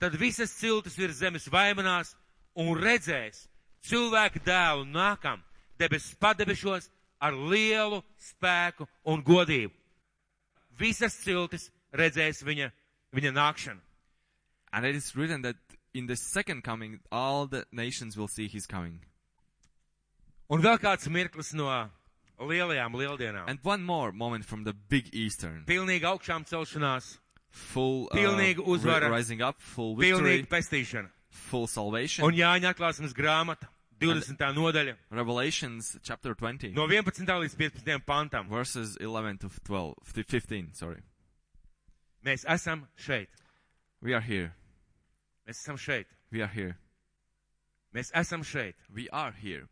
Speaker 1: tad visas ciltis virs zemes vaimanās un redzēs cilvēka dēlu nākam debesis padebešos ar lielu spēku un godību. Visas ciltis redzēs viņa, viņa nākšanu.
Speaker 2: and it is written that in the second coming, all the nations will see his coming.
Speaker 1: Un vēl kāds mirklis no lielajām lieldienām.
Speaker 2: And one more moment from the big Eastern.
Speaker 1: Pilnīgi augšām celšanās,
Speaker 2: Full uh,
Speaker 1: Pilnīgi uzvara.
Speaker 2: ri- rising up, full
Speaker 1: pilnīga
Speaker 2: victory,
Speaker 1: pestīšana.
Speaker 2: full salvation.
Speaker 1: Un Jāņa atklāsmes grāmata, 20. nodaļa,
Speaker 2: Revelations chapter 20,
Speaker 1: no 11. līdz 15. pantam.
Speaker 2: verses 11 to 12, 15, sorry.
Speaker 1: Mēs esam šeit.
Speaker 2: We are here.
Speaker 1: Mēs esam šeit.
Speaker 2: We are here.
Speaker 1: Mēs esam šeit.
Speaker 2: We are here.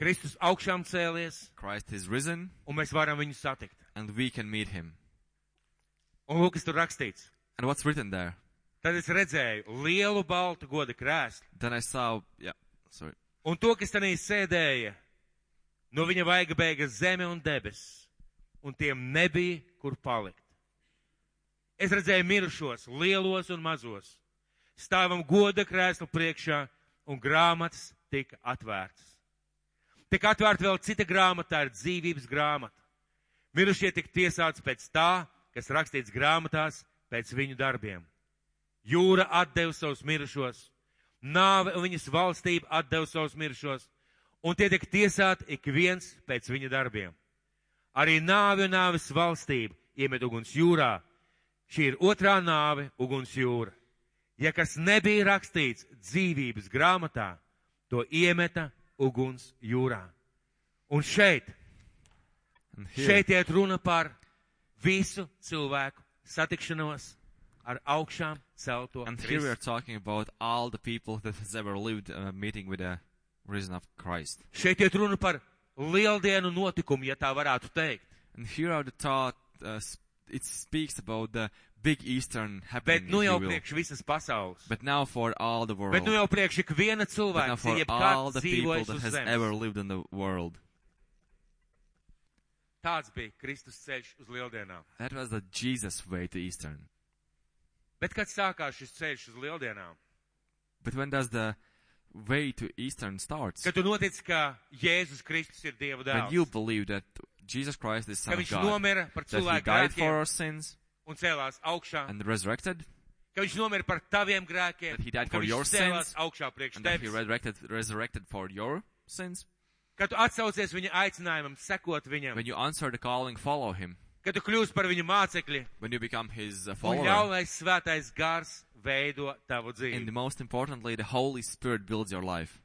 Speaker 1: Kristus augšām cēlies,
Speaker 2: Christ is risen,
Speaker 1: un mēs varam viņu satikt.
Speaker 2: and we can meet him.
Speaker 1: Un lūk, kas tur rakstīts.
Speaker 2: And what's written there?
Speaker 1: Tad es redzēju lielu baltu goda krēslu,
Speaker 2: Then I saw, yeah, sorry.
Speaker 1: un to, kas tenī sēdēja, no viņa vaiga beiga zeme un debesis, un tiem nebija, kur palikt. Es redzēju mirušos, lielos un mazos, stāvam goda krēslu priekšā, un grāmatas tika atvērtas. Tik atvērta vēl cita grāmata, tā ir dzīvības grāmata. Mirušie tika tiesāts pēc tā, kas rakstīts grāmatās, pēc viņu darbiem. Jūra atdeva savus mirušos, nāve un viņas valstība atdeva savus mirušos, un tie tika tiesāti ik viens pēc viņa darbiem. Arī nāve un nāves valstība iemet uguns jūrā. Šī ir otrā nāve - uguns jūra. Ja kas nebija rakstīts dzīvības grāmatā, to iemeta uguns jūrā. Un šeit,
Speaker 2: And here,
Speaker 1: šeit iet runa par visu cilvēku satikšanos ar augšām celto.
Speaker 2: and here we
Speaker 1: Kristu.
Speaker 2: are talking about all the people that has ever lived uh, meeting with the risen of Christ.
Speaker 1: Šeit iet runa par lieldienu notikumu, ja tā varētu teikt.
Speaker 2: And here are the thought, uh, sp- it speaks about the big Eastern happening,
Speaker 1: Bet nu
Speaker 2: if
Speaker 1: jau
Speaker 2: you will.
Speaker 1: priekš visas pasaules. Bet,
Speaker 2: But now for all the world.
Speaker 1: bet nu jau priekš ik viena
Speaker 2: but now
Speaker 1: cilvēka,
Speaker 2: for all
Speaker 1: jebkāds
Speaker 2: the people
Speaker 1: dzīvojis
Speaker 2: that
Speaker 1: uz
Speaker 2: has
Speaker 1: zemes.
Speaker 2: ever lived in the world.
Speaker 1: Tāds bija Kristus ceļš uz lieldienām.
Speaker 2: That was the Jesus way to Eastern.
Speaker 1: Bet kad sākās šis ceļš uz lieldienām,
Speaker 2: But when does the way to Eastern starts?
Speaker 1: kad tu notic, ka Jēzus Kristus ir Dieva
Speaker 2: When
Speaker 1: dēls,
Speaker 2: you believe that Jesus Christ is
Speaker 1: ka
Speaker 2: Son of
Speaker 1: viņš
Speaker 2: God,
Speaker 1: nomira par
Speaker 2: that He
Speaker 1: cilvēku
Speaker 2: died for
Speaker 1: grēkiem
Speaker 2: our sins
Speaker 1: un cēlās augšā,
Speaker 2: and resurrected,
Speaker 1: ka viņš nomira par taviem grēkiem,
Speaker 2: That he died
Speaker 1: un ka
Speaker 2: for your
Speaker 1: viņš cēlās
Speaker 2: sins,
Speaker 1: augšā priekš
Speaker 2: and that He
Speaker 1: tevis,
Speaker 2: resurrected, resurrected for your sins.
Speaker 1: ka tu atsaucies viņa aicinājumam, sekot viņam,
Speaker 2: When you answer the calling, follow Him.
Speaker 1: ka tu kļūsi par viņa mācekli
Speaker 2: When you become His uh,
Speaker 1: un
Speaker 2: follower.
Speaker 1: ļaunais svētais gars veido tavu
Speaker 2: And
Speaker 1: dzīvi.
Speaker 2: most importantly, the Holy Spirit builds your life.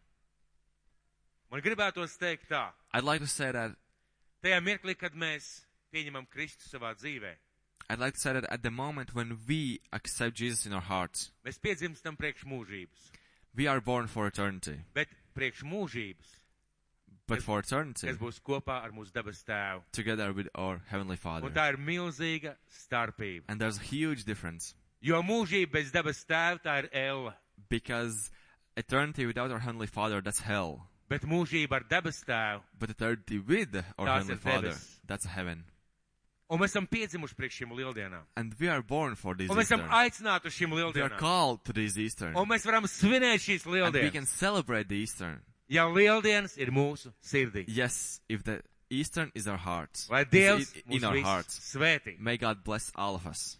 Speaker 1: Man gribētos teikt tā,
Speaker 2: I'd like to say that
Speaker 1: tajā mirklī, kad mēs pieņemam Kristu savā dzīvē,
Speaker 2: I'd like to say that at the moment when we accept Jesus in our hearts,
Speaker 1: mēs piedzimstam priekš mūžības,
Speaker 2: we are born for eternity.
Speaker 1: bet priekš mūžības,
Speaker 2: But for
Speaker 1: kas
Speaker 2: eternity,
Speaker 1: būs kopā ar mūsu dabas tēvu.
Speaker 2: together with our Heavenly
Speaker 1: Un
Speaker 2: Father.
Speaker 1: tā ir milzīga starpība.
Speaker 2: And there's a huge difference
Speaker 1: Jo mūžība bez dabas tēva tā ir elle,
Speaker 2: because eternity without our Heavenly Father, that's hell.
Speaker 1: bet mūžība ar dabas tēvu.
Speaker 2: But eternity with our
Speaker 1: That's
Speaker 2: Heavenly
Speaker 1: in
Speaker 2: Father,
Speaker 1: heavens.
Speaker 2: that's heaven.
Speaker 1: Un mēs esam piedzimuši priekš šīm lieldienām.
Speaker 2: And we are born for these
Speaker 1: Un mēs esam
Speaker 2: Easter.
Speaker 1: aicināti uz šīm
Speaker 2: We are
Speaker 1: lieldienām.
Speaker 2: called to these Easter.
Speaker 1: Un mēs varam svinēt šīs
Speaker 2: And we
Speaker 1: lieldienas.
Speaker 2: can celebrate the Easter.
Speaker 1: Ja lieldienas ir mūsu sirdī,
Speaker 2: Yes, if the Eastern is our hearts,
Speaker 1: lai
Speaker 2: is
Speaker 1: Dievs
Speaker 2: i- in
Speaker 1: mūs
Speaker 2: our
Speaker 1: visus
Speaker 2: hearts.
Speaker 1: svētī.
Speaker 2: May God bless all of us.